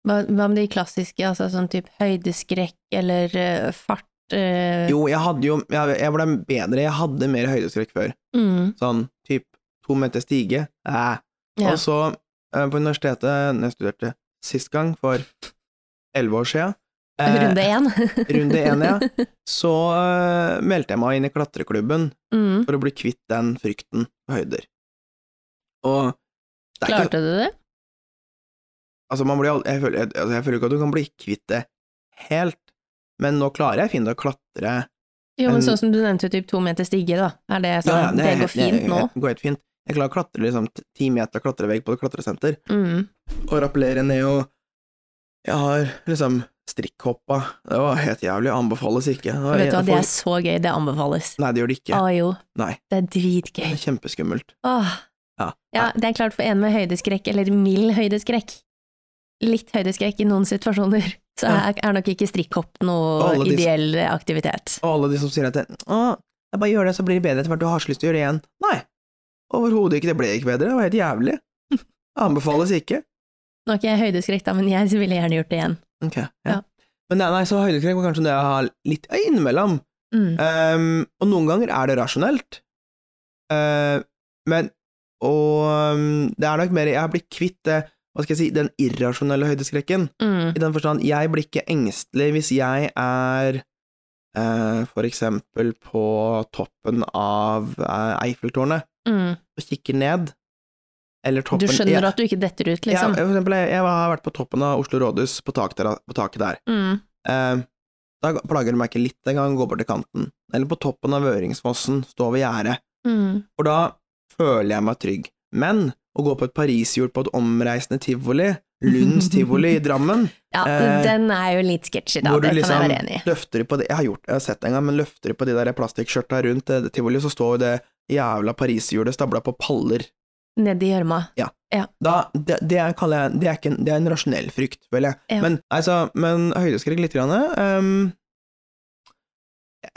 Speaker 1: Hva, hva med de klassiske, altså sånn type høydeskrekk eller eh, fart? eh,
Speaker 2: Jo, jeg hadde jo Jeg, jeg ble bedre, jeg hadde mer høydeskrekk før.
Speaker 1: Mm,
Speaker 2: Sånn typ to meter stige. Æh.
Speaker 1: ja.
Speaker 2: Og så, eh, på universitetet, når jeg studerte sist gang, for elleve år sia Eh,
Speaker 1: Runde én.
Speaker 2: runde én, ja. Så eh, meldte jeg meg inn i klatreklubben
Speaker 1: Mm.
Speaker 2: for å bli kvitt den frykten for høyder. Og det er ikke,
Speaker 1: Klarte du det?
Speaker 2: altså man blir aldri, jeg, føler, jeg, altså jeg føler ikke at du kan bli kvitt det helt, men nå klarer jeg fint å klatre.
Speaker 1: Jo, men
Speaker 2: En-
Speaker 1: sånn som du nevnte, typ to meter stige, da. Er det sånn?
Speaker 2: Ja, ja,
Speaker 1: det, går fint
Speaker 2: jeg-
Speaker 1: nå?
Speaker 2: Det går helt fint. Jeg klarer å klatre liksom t- ti meter klatrevegg på et klatresenter,
Speaker 1: Mm.
Speaker 2: og rappellere ned og Jeg har liksom strikkhoppa. Det var helt jævlig. Anbefales ikke. Det var
Speaker 1: Vet du hva,
Speaker 2: en-
Speaker 1: det er Ah,
Speaker 2: folk-
Speaker 1: så gøy, det anbefales.
Speaker 2: Nei, det gjør det
Speaker 1: Å
Speaker 2: ikke.
Speaker 1: jo,
Speaker 2: Nei,
Speaker 1: det er
Speaker 2: det
Speaker 1: dritgøy.
Speaker 2: er kjempeskummelt.
Speaker 1: Åh.
Speaker 2: Ja.
Speaker 1: Ja, det er klart for en med høydeskrekk, eller mild høydeskrekk. Litt høydeskrekk i noen situasjoner, så
Speaker 2: Ja.
Speaker 1: er, er nok ikke strikkhopp noe
Speaker 2: Og alle disse-
Speaker 1: ideell aktivitet.
Speaker 2: Og alle de som sier at det, Å, jeg bare gjør det, så blir det bedre etter hvert, du har så lyst til å gjøre det igjen. Nei, overhodet ikke, det ble ikke bedre, det var helt jævlig. Anbefales ikke.
Speaker 1: Nå er ikke jeg høydeskrekk da, men jeg ville gjerne gjort det igjen.
Speaker 2: Ok, ja.
Speaker 1: Ja.
Speaker 2: Men nei, nei, så høydeskrekk var kanskje det jeg har litt ja, innimellom.
Speaker 1: Mm.
Speaker 2: Ehm, og noen ganger er det rasjonelt. Ehm, men Og ehm, det er nok mer Jeg har blitt kvitt det, hva skal jeg si, den irrasjonelle høydeskrekken.
Speaker 1: Mm.
Speaker 2: I den forstand, jeg blir ikke engstelig hvis jeg er eh, for eksempel på toppen av eh, Eiffeltårnet
Speaker 1: Mm.
Speaker 2: og kikker ned, eller
Speaker 1: Du
Speaker 2: toppen
Speaker 1: skjønner
Speaker 2: ja,
Speaker 1: at du ikke detter ut, liksom.
Speaker 2: Ja, for eksempel, jeg, jeg har vært på toppen av Oslo rådhus på, tak der, på taket der.
Speaker 1: Mm.
Speaker 2: Eh, da plager det meg ikke litt engang å gå bort til kanten. Eller på toppen av Vøringsfossen, stå ved gjerdet.
Speaker 1: Mm.
Speaker 2: For da føler jeg meg trygg. Men å gå på et pariserhjul på et omreisende tivoli, Lunds tivoli i Drammen,
Speaker 1: Ja,
Speaker 2: Eh,
Speaker 1: den er jo litt sketsjy, da.
Speaker 2: hvor du
Speaker 1: Det kan jeg
Speaker 2: liksom
Speaker 1: være enig i.
Speaker 2: løfter på det Jeg har gjort det, jeg har sett det en gang, men løfter på de der plastikkskjørta rundt det tivoli, så står jo det jævla pariserhjulet stabla på paller.
Speaker 1: Nedi gjørma.
Speaker 2: Da, det, det er- kaller jeg det er, ikke en, det er en rasjonell frykt, føler jeg.
Speaker 1: Ja.
Speaker 2: Men, altså, men høydeskrekk lite grann. ehm,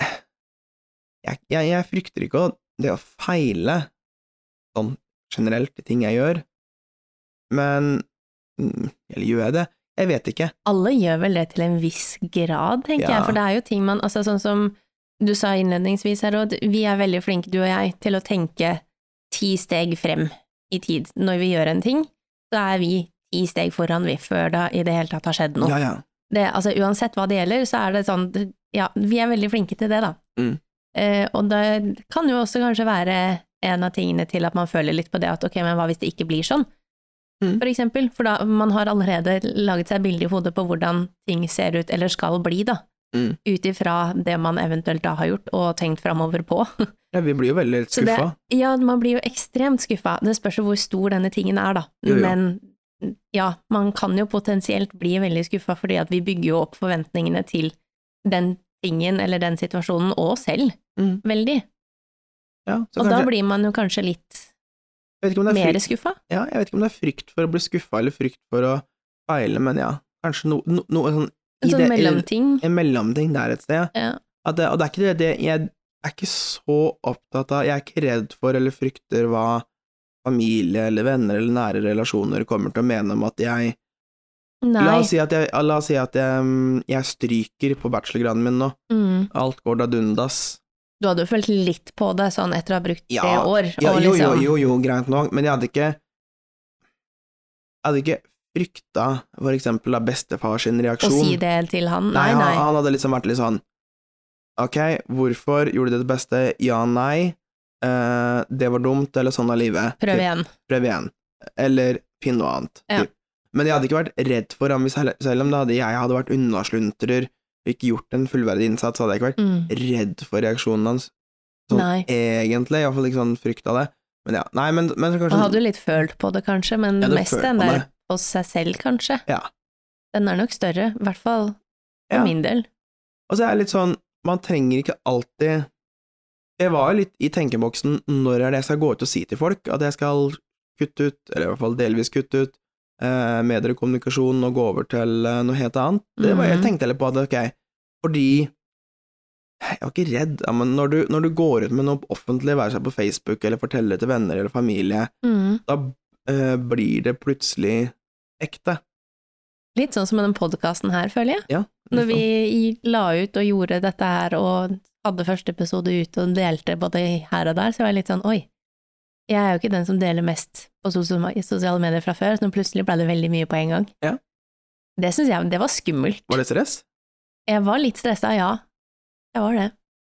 Speaker 2: jeg, jeg, jeg frykter ikke å, det å feile sånn generelt i ting jeg gjør, men mm, Eller gjør jeg det? Jeg vet ikke.
Speaker 1: Alle gjør vel det til en viss grad, tenker
Speaker 2: Ja.
Speaker 1: jeg, for det er jo ting man Altså sånn som du sa innledningsvis her, Odd, vi er veldig flinke, du og jeg, til å tenke ti steg frem i tid. Når vi gjør en ting, så er vi ti steg foran, vi, før det i det hele tatt har skjedd noe.
Speaker 2: Ja, ja.
Speaker 1: det, altså uansett hva det gjelder, så er det sånn Ja, vi er veldig flinke til det, da.
Speaker 2: Mm.
Speaker 1: Eh, og det kan jo også kanskje være en av tingene til at man føler litt på det at ok, men hva hvis det ikke blir sånn,
Speaker 2: Mm.
Speaker 1: for eksempel? For da man har allerede laget seg et bilde i hodet på hvordan ting ser ut eller skal bli, da.
Speaker 2: Mm.
Speaker 1: Ut ifra det man eventuelt da har gjort og tenkt framover på.
Speaker 2: ja vi blir jo veldig
Speaker 1: Så det-
Speaker 2: skuffa.
Speaker 1: ja, man blir jo ekstremt skuffa. Det spørs jo hvor stor denne tingen er, da.
Speaker 2: Jo, jo.
Speaker 1: Men ja, man kan jo potensielt bli veldig skuffa, fordi at vi bygger jo opp forventningene til den tingen eller den situasjonen, og oss selv,
Speaker 2: Mm.
Speaker 1: veldig.
Speaker 2: Ja, så
Speaker 1: Og da
Speaker 2: kanskje-
Speaker 1: blir man jo kanskje litt
Speaker 2: jeg vet ikke om det er
Speaker 1: mer
Speaker 2: frykt-
Speaker 1: skuffa.
Speaker 2: Ja, jeg vet ikke om det er frykt for å bli skuffa eller frykt for å feile, men ja, kanskje no- no- noe sånn i
Speaker 1: En sånn
Speaker 2: det- i-
Speaker 1: mellomting.
Speaker 2: en mellomting der et sted.
Speaker 1: Ja.
Speaker 2: At det, og det er ikke det, det Jeg er ikke så opptatt av Jeg er ikke redd for eller frykter hva familie eller venner eller nære relasjoner kommer til å mene om at jeg La
Speaker 1: Nei.
Speaker 2: oss si at jeg, la oss si at jeg, mm, jeg stryker på bachelorgraden min nå.
Speaker 1: Mm.
Speaker 2: Alt går da dundas.
Speaker 1: Du hadde jo følt litt på det sånn etter å ha brukt tre
Speaker 2: Ja,
Speaker 1: år.
Speaker 2: Ja,
Speaker 1: og
Speaker 2: jo, jo,
Speaker 1: liksom-
Speaker 2: jo, jo, greit nok, men jeg hadde ikke Jeg hadde ikke frykta for eksempel da bestefar sin
Speaker 1: Å
Speaker 2: reaksjon.
Speaker 1: si det til han. Nei,
Speaker 2: han-
Speaker 1: nei.
Speaker 2: Han, hadde liksom vært litt sånn Ok, hvorfor gjorde du det beste? Ja, nei. Eh, det var dumt, eller sånn er livet.
Speaker 1: Prøv
Speaker 2: Typ,
Speaker 1: igjen.
Speaker 2: Prøv igjen. Eller finn noe annet.
Speaker 1: Ja.
Speaker 2: typ. Men jeg hadde ikke vært redd for ham, hvis jeg- selv om det hadde, jeg hadde vært unnasluntrer og ikke gjort en fullverdig innsats, så hadde jeg ikke vært
Speaker 1: Mm.
Speaker 2: redd for reaksjonen hans. Sånn
Speaker 1: Nei.
Speaker 2: egentlig, iallfall ikke sånn frykt av det. Men ja, nei, men, men så
Speaker 1: Man
Speaker 2: kanskje
Speaker 1: hadde jo litt følt på det, kanskje, men
Speaker 2: Ja, det
Speaker 1: mest
Speaker 2: føler
Speaker 1: den
Speaker 2: man
Speaker 1: der
Speaker 2: det.
Speaker 1: på seg selv, kanskje.
Speaker 2: Ja.
Speaker 1: Den er nok større, i hvert fall for
Speaker 2: Ja.
Speaker 1: min del.
Speaker 2: Og så er jeg litt sånn, man trenger ikke alltid Jeg var jo litt i tenkeboksen når er det jeg skal gå ut og si til folk at jeg skal kutte ut, eller i hvert fall delvis kutte ut, eh, medier og kommunikasjon og gå over til eh, noe helt annet. Det var, jeg
Speaker 1: Mhm.
Speaker 2: tenkte litt på at ok, fordi jeg var ikke redd, ja, men når du, når du går ut med noe offentlig, være seg på Facebook eller forteller det til venner eller familie, da eh, blir det plutselig ekte.
Speaker 1: Litt sånn som med den podkasten her, føler jeg.
Speaker 2: Ja,
Speaker 1: Når vi i- la ut og gjorde dette her, og hadde første episode ut og delte både her og der, så var jeg litt sånn oi, jeg er jo ikke den som deler mest på sosia- i sosiale medier fra før, så nå plutselig ble det veldig mye på en gang.
Speaker 2: Ja.
Speaker 1: Det syns jeg, det var skummelt.
Speaker 2: Var det stress?
Speaker 1: Jeg var litt stressa, ja. Jeg var det.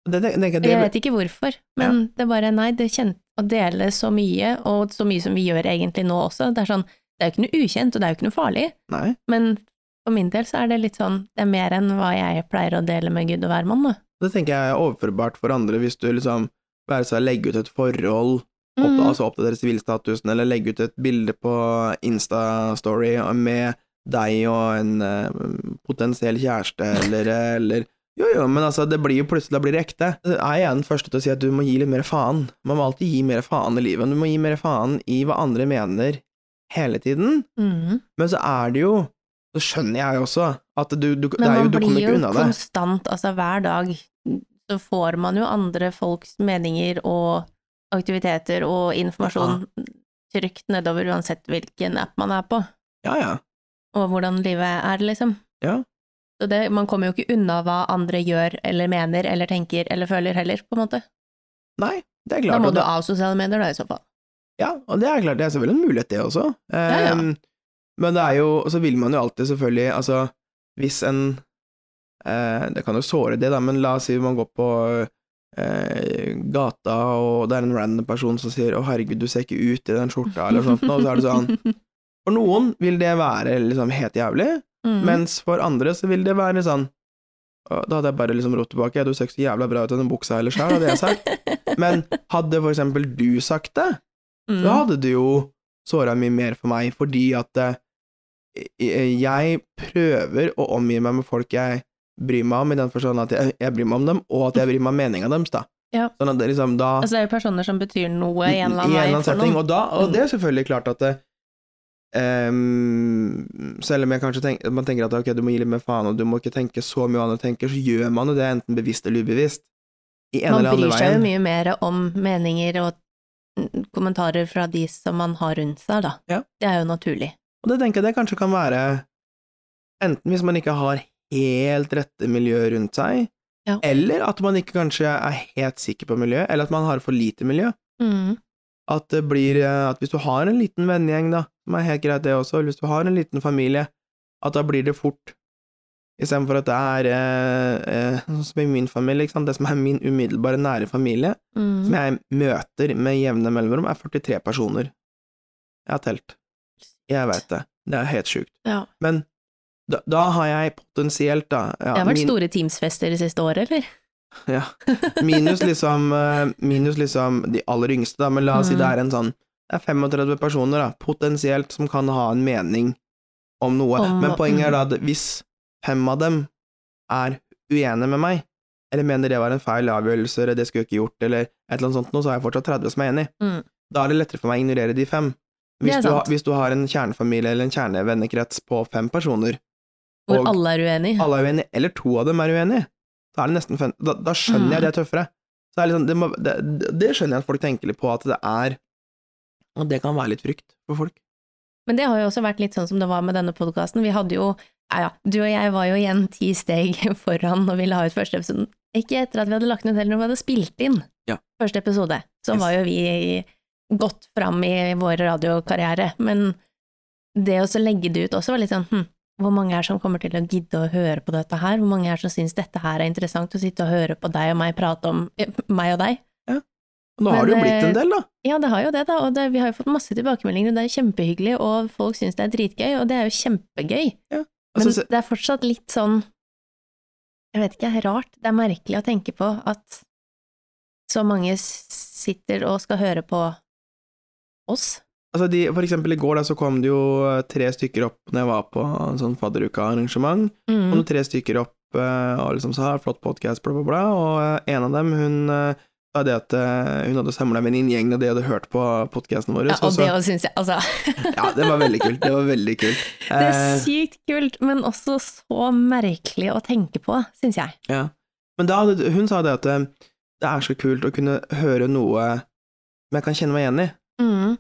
Speaker 2: Det, det, det, det,
Speaker 1: Jeg vet ikke hvorfor, men det bare nei, det kjent, å dele så mye, og så mye som vi gjør egentlig nå også, det er sånn, det er jo ikke noe ukjent, og det er jo ikke noe farlig,
Speaker 2: Nei.
Speaker 1: men for min del så er det litt sånn, det er mer enn hva jeg pleier å dele med Gud og hvermann, da.
Speaker 2: Det tenker jeg er overførbart for andre, hvis du liksom være seg legge ut et forhold, opp,
Speaker 1: Mm.
Speaker 2: altså oppdatere sivilstatusen, eller legge ut et bilde på Insta-story med deg og en eh, potensiell kjæreste, eller, eller Jo, jo, men altså, det blir jo plutselig da blir det ekte. Så Er jeg den første til å si at du må gi litt mer faen? Man må alltid gi mer faen i livet, men du må gi mer faen i hva andre mener, hele tiden.
Speaker 1: Mhm.
Speaker 2: Men så er det jo Så skjønner jeg også at du, du, det
Speaker 1: Men
Speaker 2: er jo,
Speaker 1: man
Speaker 2: du kommer
Speaker 1: blir
Speaker 2: ikke
Speaker 1: jo
Speaker 2: unna det.
Speaker 1: konstant, altså hver dag, så får man jo andre folks meninger og aktiviteter og informasjon trygt nedover, uansett hvilken app man er på.
Speaker 2: Ja, ja.
Speaker 1: og hvordan livet er, liksom.
Speaker 2: Ja.
Speaker 1: Så det, man kommer jo ikke unna hva andre gjør eller mener eller tenker eller føler heller, på en måte.
Speaker 2: Nei, det er klart.
Speaker 1: Da må
Speaker 2: og
Speaker 1: du
Speaker 2: det-
Speaker 1: av sosiale medier, da, i så fall.
Speaker 2: Ja, og det er klart, det er selvfølgelig en mulighet det også.
Speaker 1: ja.
Speaker 2: Ehm, Men det er jo, og så vil man jo alltid selvfølgelig, altså hvis en Eh, det kan jo såre det, da, men la oss si man går på eh, gata, og det er en random person som sier 'Å, herregud, du ser ikke ut i den skjorta', eller noe sånt, og så er det sånn For noen vil det være liksom helt jævlig,
Speaker 1: Mm.
Speaker 2: mens for andre så vil det være sånn «Å, Da hadde jeg bare liksom rott tilbake, du ser ikke så jævla bra ut i den buksa ellers her, hadde jeg sagt. Men hadde for eksempel du sagt det,
Speaker 1: Mm.
Speaker 2: da hadde du jo såra mye mer for meg, fordi at eh, jeg prøver å omgi meg med folk jeg bryr meg om, i den forstand at jeg, jeg bryr meg om dem, og at jeg bryr meg om meninga deres, da.
Speaker 1: Ja.
Speaker 2: Sånn at det liksom da
Speaker 1: Altså, det er jo personer som betyr noe i en eller
Speaker 2: i en
Speaker 1: annen vei for
Speaker 2: setting,
Speaker 1: noen. Mm.
Speaker 2: Og, da, og det er selvfølgelig klart at det, ehm, Selv om jeg kanskje tenker, man tenker at ok, du må gi litt mer faen, og du må ikke tenke så mye hva andre tenker, så gjør man jo det enten bevisst eller ubevisst. I en
Speaker 1: Man
Speaker 2: eller
Speaker 1: bryr
Speaker 2: annen
Speaker 1: seg jo
Speaker 2: veien.
Speaker 1: mye mer om meninger og mm, kommentarer fra de som man har rundt seg, da.
Speaker 2: Ja.
Speaker 1: Det er jo naturlig.
Speaker 2: Og det tenker jeg det kanskje kan være enten hvis man ikke har helt rette miljø rundt seg,
Speaker 1: Ja.
Speaker 2: eller at man ikke kanskje er helt sikker på miljøet, eller at man har for lite miljø.
Speaker 1: Mm.
Speaker 2: At det blir eh, At hvis du har en liten vennegjeng, da, som er helt greit det også, eller hvis du har en liten familie, at da blir det fort Istedenfor at det er eh, eh, sånn som i min familie, ikke sant? det som er min umiddelbare nære familie,
Speaker 1: Mm.
Speaker 2: som jeg møter med jevne mellomrom, er 43 personer. Jeg har telt. Jeg veit det. Det er helt sjukt.
Speaker 1: Ja.
Speaker 2: Men da, da har jeg potensielt, da ja,
Speaker 1: det har vært
Speaker 2: min-
Speaker 1: store Teams-fester det siste året, eller?
Speaker 2: Ja. Minus liksom, eh, minus liksom de aller yngste, da, men la oss si
Speaker 1: Mm.
Speaker 2: det er en sånn Det er 35 personer, da, potensielt, som kan ha en mening om noe.
Speaker 1: Om-
Speaker 2: men poenget er da
Speaker 1: mm.
Speaker 2: at hvis fem av dem er uenige med meg, eller mener det var en feil avgjørelse, eller det skulle jeg ikke gjort, eller et eller annet sånt, noe, så har jeg fortsatt 30 som er enig.
Speaker 1: Mm.
Speaker 2: Da er det lettere for meg å ignorere de fem.
Speaker 1: Det er
Speaker 2: Hvis du, har-
Speaker 1: sant.
Speaker 2: hvis du har en kjernefamilie eller en kjernevennekrets på fem personer,
Speaker 1: Hvor
Speaker 2: Og-
Speaker 1: alle er uenige.
Speaker 2: alle er uenige, eller to av dem er uenige, da, er det nesten, fem- da, da skjønner
Speaker 1: Mm.
Speaker 2: jeg det er tøffere. Så det, er liksom, det, må, det, det skjønner jeg at folk tenker litt på, at det er Og det kan være litt frykt for folk.
Speaker 1: Men det har jo også vært litt sånn som det var med denne podkasten. Vi hadde jo ja, ja, du og jeg var jo igjen ti steg foran når vi la ut første episoden. Ikke etter at vi hadde lagt den ut, heller når vi hadde spilt inn
Speaker 2: Ja.
Speaker 1: første episode. Så
Speaker 2: Yes.
Speaker 1: var jo vi godt fram i vår radiokarriere. Men det å så legge det ut også var litt sånn hm, hvor mange er som kommer til å gidde å høre på dette her? Hvor mange er som syns dette her er interessant å sitte og høre på deg og meg prate om eh, meg og deg?
Speaker 2: Og nå
Speaker 1: Men eh,
Speaker 2: har det jo blitt
Speaker 1: det-
Speaker 2: en del, da.
Speaker 1: Ja, det har jo det, da, og det, vi har jo fått masse tilbakemeldinger, og det er kjempehyggelig, og folk syns det er dritgøy, og det er jo kjempegøy, men
Speaker 2: Altså, så-
Speaker 1: det er fortsatt litt sånn Jeg vet ikke, rart. Det er merkelig å tenke på at så mange s- sitter og skal høre på oss.
Speaker 2: altså de, for eksempel i går da, så kom det jo eh, tre stykker opp når jeg var på en sånn fadderuka-arrangement. kom
Speaker 1: Mm.
Speaker 2: det tre stykker opp eh, og liksom sa 'flott podkast', bla, bla, bla, og eh, en av dem, hun eh, sa det at eh, hun hadde samla venninnegjengene, og de hadde hørt på podkasten vår.
Speaker 1: Ja,
Speaker 2: så-
Speaker 1: og
Speaker 2: så-
Speaker 1: det òg syns jeg Altså,
Speaker 2: ja, det var veldig kult. Det var veldig kult.
Speaker 1: det
Speaker 2: Eh,
Speaker 1: er sykt kult, men også så merkelig å tenke på, syns jeg.
Speaker 2: Ja. Men da, hadde- hun sa det at eh, det er så kult å kunne høre noe som jeg kan kjenne meg igjen i.
Speaker 1: Mm.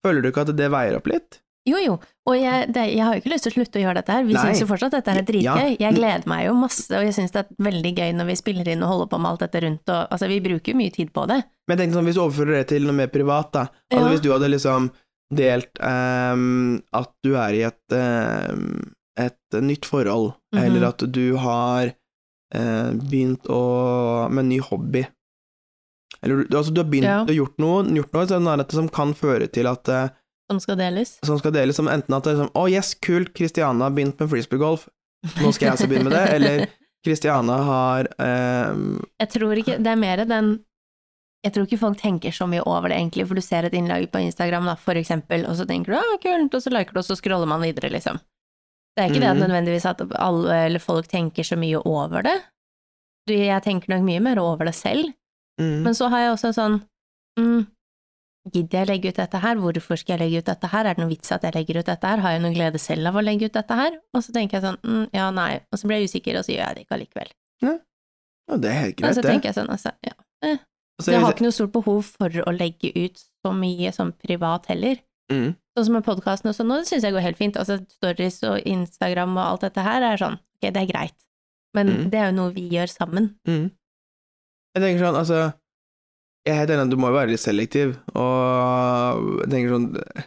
Speaker 2: Føler du ikke at det veier opp litt?
Speaker 1: Jo, jo, og jeg, det, jeg har jo ikke lyst til å slutte å gjøre dette her. Vi
Speaker 2: Nei.
Speaker 1: syns jo fortsatt dette her er dritgøy.
Speaker 2: Ja.
Speaker 1: Jeg gleder meg jo masse, og jeg syns det er veldig gøy når vi spiller inn og holder på med alt dette rundt, og altså, vi bruker jo mye tid på det.
Speaker 2: Men jeg tenkte sånn, hvis du overfører det til noe mer privat, da. Altså
Speaker 1: Ja.
Speaker 2: hvis du hadde liksom delt ehm, at du er i et, ehm, et nytt forhold,
Speaker 1: Mhm.
Speaker 2: eller at du har eh, begynt å med en ny hobby. Eller du, altså, du har begynt,
Speaker 1: Ja.
Speaker 2: du har gjort noe, gjort noe sånn er dette som kan føre til at eh,
Speaker 1: Sånn skal deles.
Speaker 2: som skal deles som enten at det er sånn, å yes, kult, Kristiana har begynt med frisbeegolf, nå skal jeg også begynne med det, eller Kristiana har ehm,
Speaker 1: Jeg tror ikke, det er mer den Jeg tror ikke folk tenker så mye over det, egentlig, for du ser et innlag på Instagram, da, for eksempel, og så tenker du 'Å, kult', og så liker du, og så scroller man videre, liksom. Det er ikke det at
Speaker 2: Mhm.
Speaker 1: nødvendigvis at alle, eller folk tenker så mye over det. Du, jeg tenker nok mye mer over det selv.
Speaker 2: mm,
Speaker 1: Men så har jeg også sånn mm, Gidder jeg legge ut dette her? Hvorfor skal jeg legge ut dette her? Er det noen vits at jeg legger ut dette her? Har jeg noen glede selv av å legge ut dette her? Og så tenker jeg sånn mm, ja, nei, og så blir jeg usikker, og så gjør jeg det ikke allikevel.
Speaker 2: ja, det er helt
Speaker 1: Men
Speaker 2: greit,
Speaker 1: så
Speaker 2: det.
Speaker 1: tenker jeg sånn, altså, ja.
Speaker 2: Så
Speaker 1: Så jeg
Speaker 2: jeg- sånn,
Speaker 1: har ikke noe stort behov for å legge ut så mye som privat heller.
Speaker 2: mm,
Speaker 1: Sånn som med podkasten og sånn, og det syns jeg går helt fint. Altså stories og Instagram og alt dette her er sånn, ok, det er greit. Men
Speaker 2: Mm.
Speaker 1: det er jo noe vi gjør sammen.
Speaker 2: mm. Jeg tenker sånn, altså, jeg er helt enig, at du må jo være litt selektiv, og jeg tenker sånn,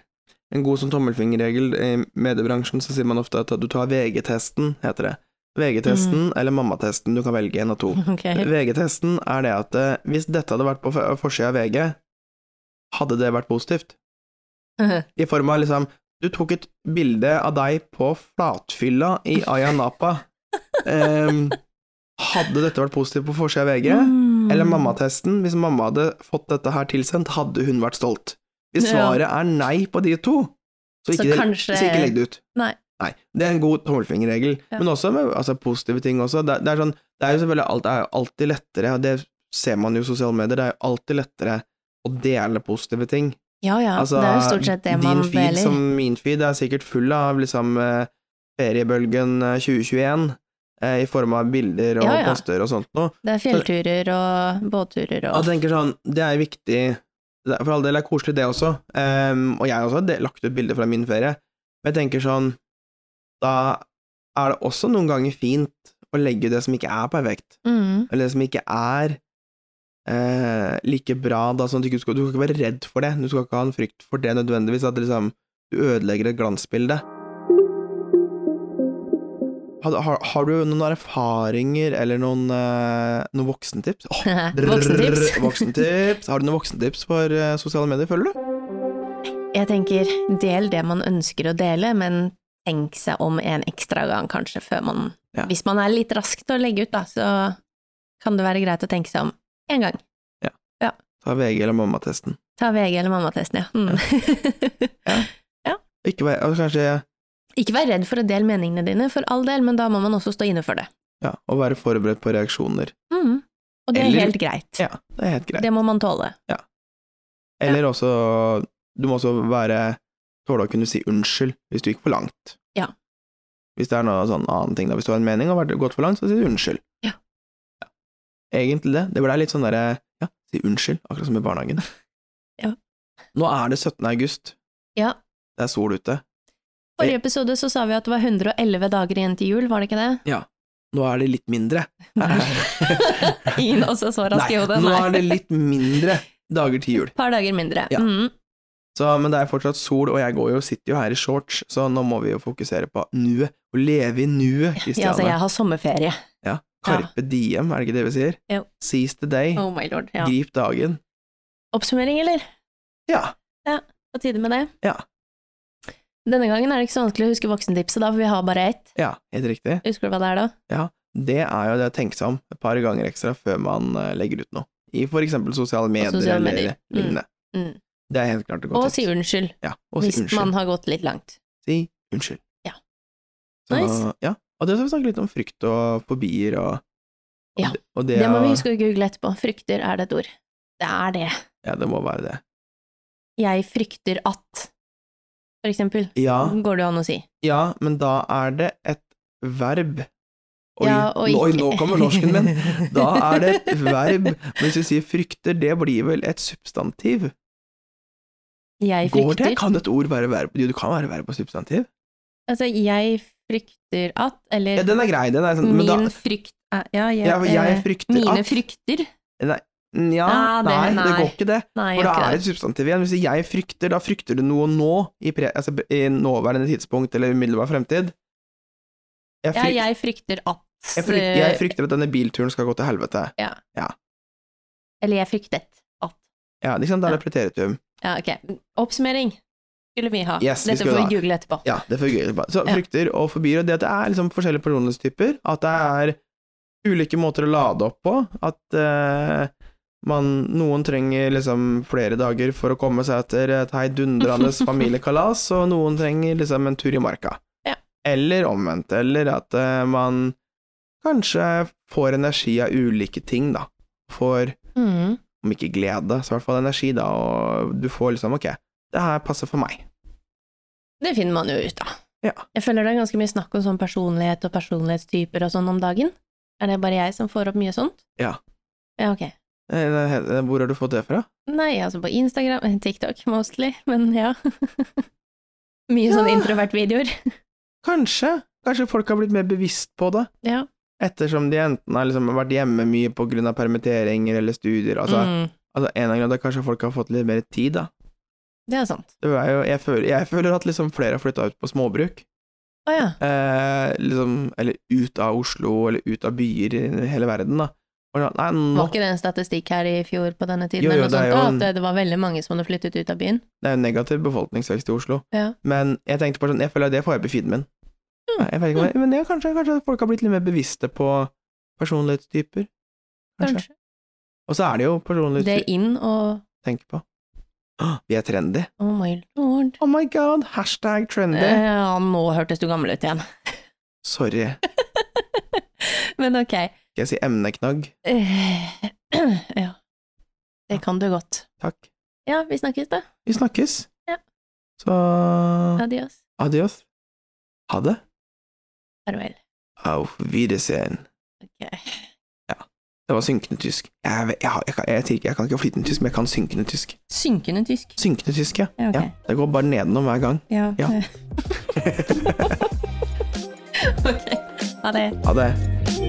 Speaker 2: en god sånn tommelfingerregel i mediebransjen, så sier man ofte at du tar VG-testen, heter det. VG-testen
Speaker 1: Mm.
Speaker 2: eller mammatesten, du kan velge en av to.
Speaker 1: Ok.
Speaker 2: VG-testen er det at eh, hvis dette hadde vært på f- forsida av VG, hadde det vært positivt? I form av liksom Du tok et bilde av deg på flatfylla i Ayia Napa. Em, hadde dette vært positivt på forsida av VG?
Speaker 1: Mm.
Speaker 2: Eller mammatesten? Hvis mamma hadde fått dette her tilsendt, hadde hun vært stolt? Hvis
Speaker 1: Ja.
Speaker 2: svaret er nei på de to, så
Speaker 1: Så
Speaker 2: ikke,
Speaker 1: kanskje-
Speaker 2: så ikke legg det ut.
Speaker 1: Nei.
Speaker 2: Nei. Det er en god tommelfingerregel.
Speaker 1: Ja.
Speaker 2: Men også med altså, positive ting også. Det, det er sånn Det er jo selvfølgelig alt, det er jo alltid lettere, og det ser man jo i sosiale medier, det er jo alltid lettere å dele positive ting.
Speaker 1: Ja ja,
Speaker 2: Altså,
Speaker 1: det er jo stort sett det man
Speaker 2: Din feed
Speaker 1: deler.
Speaker 2: som min feed er sikkert full av liksom eh, feriebølgen eh, 2021, eh, i form av bilder og
Speaker 1: Ja, ja.
Speaker 2: poster og sånt noe.
Speaker 1: Det er fjellturer og båtturer
Speaker 2: Og
Speaker 1: og
Speaker 2: jeg tenker sånn, det er viktig det er- For all del er koselig det også, Ehm, og jeg også har de- lagt ut bilder fra min ferie, men jeg tenker sånn Da er det også noen ganger fint å legge ut det som ikke er perfekt,
Speaker 1: mm.
Speaker 2: eller det som ikke er eh, like bra, da, sånn at du ikke skal, du skal ikke være redd for det, du skal ikke ha en frykt for det nødvendigvis, at det liksom, du ødelegger et glansbilde. Har, har, har du noen erfaringer eller noen, eh, noen voksentips? Åh,
Speaker 1: Voksentips.
Speaker 2: Voksentips. Har du noen voksentips for eh, sosiale medier, føler du?
Speaker 1: Jeg tenker, del det man ønsker å dele, men tenk seg om en ekstra gang, kanskje, før man
Speaker 2: Ja.
Speaker 1: Hvis man er litt rask til å legge ut, da, så kan det være greit å tenke seg om én gang.
Speaker 2: Ta VG eller mammatesten.
Speaker 1: Ta VG eller mammatesten, ja. Mm.
Speaker 2: Ikke vær, og kanskje
Speaker 1: Ikke vær redd for å dele meningene dine, for all del, men da må man også stå inne for det.
Speaker 2: ja, å være forberedt på reaksjoner.
Speaker 1: Mm. Og det er
Speaker 2: Eller-
Speaker 1: helt greit.
Speaker 2: Ja, det er helt greit.
Speaker 1: Det må man tåle.
Speaker 2: Eller også Du må også være Tåle å kunne si unnskyld hvis du gikk for langt.
Speaker 1: Ja.
Speaker 2: Hvis det er noe sånn annen ting, da. Hvis du har en mening og har vært- gått for langt, så si unnskyld.
Speaker 1: Ja.
Speaker 2: Ja. Egentlig det. Det ble litt sånn derre Ja, si unnskyld, akkurat som i barnehagen.
Speaker 1: Ja.
Speaker 2: Nå er det 17. august.
Speaker 1: Ja.
Speaker 2: Det er sol ute.
Speaker 1: Forrige episode så sa vi at det var 111 dager igjen til jul, var det ikke det?
Speaker 2: Nå er det litt mindre.
Speaker 1: Ingen av oss er så rask i hodet.
Speaker 2: nå
Speaker 1: Nei.
Speaker 2: er det litt mindre dager til jul.
Speaker 1: Et par dager mindre.
Speaker 2: Ja.
Speaker 1: Mm.
Speaker 2: Så, men det er fortsatt sol, og jeg går jo, sitter jo her i shorts, så nå må vi jo fokusere på nuet. Å leve i nuet,
Speaker 1: Ja, altså,
Speaker 2: Kristiane.
Speaker 1: jeg har sommerferie.
Speaker 2: Carpe diem, er det ikke det vi sier?
Speaker 1: Jo.
Speaker 2: Seize the day.
Speaker 1: Oh my lord. Ja.
Speaker 2: Grip dagen.
Speaker 1: Oppsummering, eller?
Speaker 2: Ja.
Speaker 1: På tide med det?
Speaker 2: Ja.
Speaker 1: Denne gangen er det ikke så vanskelig å huske voksentipset, da, for vi har bare ett.
Speaker 2: Ja, helt riktig.
Speaker 1: Husker du hva det er, da?
Speaker 2: Det er jo det å tenke seg om et par ganger ekstra før man eh, legger ut noe. I for eksempel sosiale medier,
Speaker 1: sosiale medier.
Speaker 2: eller
Speaker 1: Mm.
Speaker 2: lignende.
Speaker 1: Mm.
Speaker 2: Det er helt klart et godt
Speaker 1: Og si unnskyld,
Speaker 2: Ja, og si
Speaker 1: hvis
Speaker 2: unnskyld.
Speaker 1: man har gått litt langt.
Speaker 2: Si unnskyld.
Speaker 1: Ja.
Speaker 2: Så,
Speaker 1: Nice.
Speaker 2: Ja, og det skal vi snakke litt om frykt og fobier og, og
Speaker 1: Ja,
Speaker 2: det, og det,
Speaker 1: Det må
Speaker 2: å-
Speaker 1: vi huske å google etterpå. Frykter er det et ord. Det er det.
Speaker 2: Ja, det må være det.
Speaker 1: Jeg frykter at, for eksempel,
Speaker 2: Ja,
Speaker 1: går det jo an å si.
Speaker 2: ja, men da er det et verb. Oi,
Speaker 1: Ja, og
Speaker 2: nå- oi,
Speaker 1: ikke-
Speaker 2: nå kommer norsken min! Da er det et verb. Men hvis vi sier frykter, det blir vel et substantiv?
Speaker 1: Jeg
Speaker 2: Går det?
Speaker 1: frykter
Speaker 2: Kan et ord være verb? Jo, det kan være verb og substantiv.
Speaker 1: Altså, jeg frykter at, eller
Speaker 2: Ja, den er grei, den er sånn, men
Speaker 1: Eh, min
Speaker 2: da
Speaker 1: frykt er Ja, jeg,
Speaker 2: ja, Jeg
Speaker 1: eh,
Speaker 2: frykter
Speaker 1: Mine
Speaker 2: at
Speaker 1: frykter?
Speaker 2: Nja,
Speaker 1: Ah, det-
Speaker 2: nei, det
Speaker 1: nei.
Speaker 2: går ikke det.
Speaker 1: Nei,
Speaker 2: For
Speaker 1: jeg
Speaker 2: da er
Speaker 1: gjør
Speaker 2: det
Speaker 1: ikke det.
Speaker 2: et substantiv igjen. Hvis jeg frykter, da frykter du noe nå, i, pre, altså, i nåværende tidspunkt eller umiddelbar fremtid. Jeg,
Speaker 1: Ja,
Speaker 2: fryk,
Speaker 1: jeg frykter at eh,
Speaker 2: jeg, fryk, jeg frykter at denne bilturen skal gå til helvete.
Speaker 1: Eller jeg fryktet at.
Speaker 2: Ja, ikke sant? Da er det preteritum.
Speaker 1: Ja, ok. Oppsummering skulle vi ha.
Speaker 2: Yes, vi
Speaker 1: Dette
Speaker 2: skulle
Speaker 1: får
Speaker 2: ha.
Speaker 1: vi google etterpå.
Speaker 2: Ja, det fungerer bare. Så
Speaker 1: Ja.
Speaker 2: frykter og fobier, og det at det er liksom forskjellige personlighetstyper, at det er ulike måter å lade opp på, at eh, man, noen trenger liksom flere dager for å komme seg etter et heidundrende familiekalas, og noen trenger liksom en tur i marka.
Speaker 1: Ja.
Speaker 2: Eller omvendt, eller at eh, man kanskje får energi av ulike ting, da. Får
Speaker 1: Mm.
Speaker 2: om ikke glede, så i hvert fall energi, da, og du får liksom ok, det her passer for meg.
Speaker 1: Det finner man jo ut av.
Speaker 2: Ja.
Speaker 1: Jeg føler det er ganske mye snakk om sånn personlighet og personlighetstyper og sånn om dagen. Er det bare jeg som får opp mye sånt?
Speaker 2: Ja.
Speaker 1: Ja, ok.
Speaker 2: Eh, eh, Hvor har du fått det fra?
Speaker 1: Nei, altså på Instagram, eh, TikTok mostly, men ja. mye
Speaker 2: Ja.
Speaker 1: sånne introvertvideoer.
Speaker 2: Kanskje. Kanskje folk har blitt mer bevisst på det,
Speaker 1: Ja.
Speaker 2: ettersom de enten har liksom vært hjemme mye på grunn av permitteringer eller studier. Altså,
Speaker 1: mm.
Speaker 2: altså en av grunnene er kanskje folk har fått litt mer tid, da.
Speaker 1: Det er sant.
Speaker 2: Det er jo, jeg, føler, jeg føler at liksom flere har flytta ut på småbruk.
Speaker 1: Å ja.
Speaker 2: eh, liksom, eller ut av Oslo, eller ut av byer i hele verden, da. Og da nei, nå,
Speaker 1: Var ikke det en statistikk her i fjor på denne tiden,
Speaker 2: Jo, jo,
Speaker 1: eller noe
Speaker 2: det er
Speaker 1: sånt,
Speaker 2: jo
Speaker 1: da,
Speaker 2: en-
Speaker 1: at eh, det- det var veldig mange som hadde flyttet ut av byen?
Speaker 2: det er jo negativ befolkningsvekst i Oslo,
Speaker 1: Ja.
Speaker 2: men jeg tenkte på sånn, jeg føler at det får jeg på feeden min.
Speaker 1: Mm.
Speaker 2: Nei, Jeg vet ikke, om jeg- men det er kanskje, kanskje folk har blitt litt mer bevisste på personlighetstyper. Kanskje.
Speaker 1: Kanskje.
Speaker 2: Og så er det jo
Speaker 1: Det er
Speaker 2: personlighetstyper
Speaker 1: inn og
Speaker 2: å tenke på. Åh, Vi er trendy.
Speaker 1: Oh my lord.
Speaker 2: Oh my god, hashtag trendy.
Speaker 1: Eh, Ja, nå hørtes du gammel ut igjen.
Speaker 2: Sorry, skal
Speaker 1: Men ok.
Speaker 2: jeg si emneknagg?
Speaker 1: Eh, ja. Det kan du godt.
Speaker 2: Takk.
Speaker 1: Ja, vi snakkes da.
Speaker 2: Vi snakkes.
Speaker 1: Ja.
Speaker 2: Så
Speaker 1: Adios.
Speaker 2: adios. Ha det.
Speaker 1: Farvel.
Speaker 2: Auf Wiedersehen.
Speaker 1: Ok.
Speaker 2: Det var synkende tysk. Jeg, vet- jeg, har- jeg, kan- jeg, jeg, jeg kan ikke flytende tysk, men jeg kan synkende tysk.
Speaker 1: Synkende tysk.
Speaker 2: Synkende tysk, ja.
Speaker 1: Ja, ok.
Speaker 2: ja. Det går bare nedenom hver gang.
Speaker 1: Ja.
Speaker 2: Ja.
Speaker 1: ok. Ha det.
Speaker 2: Ha det.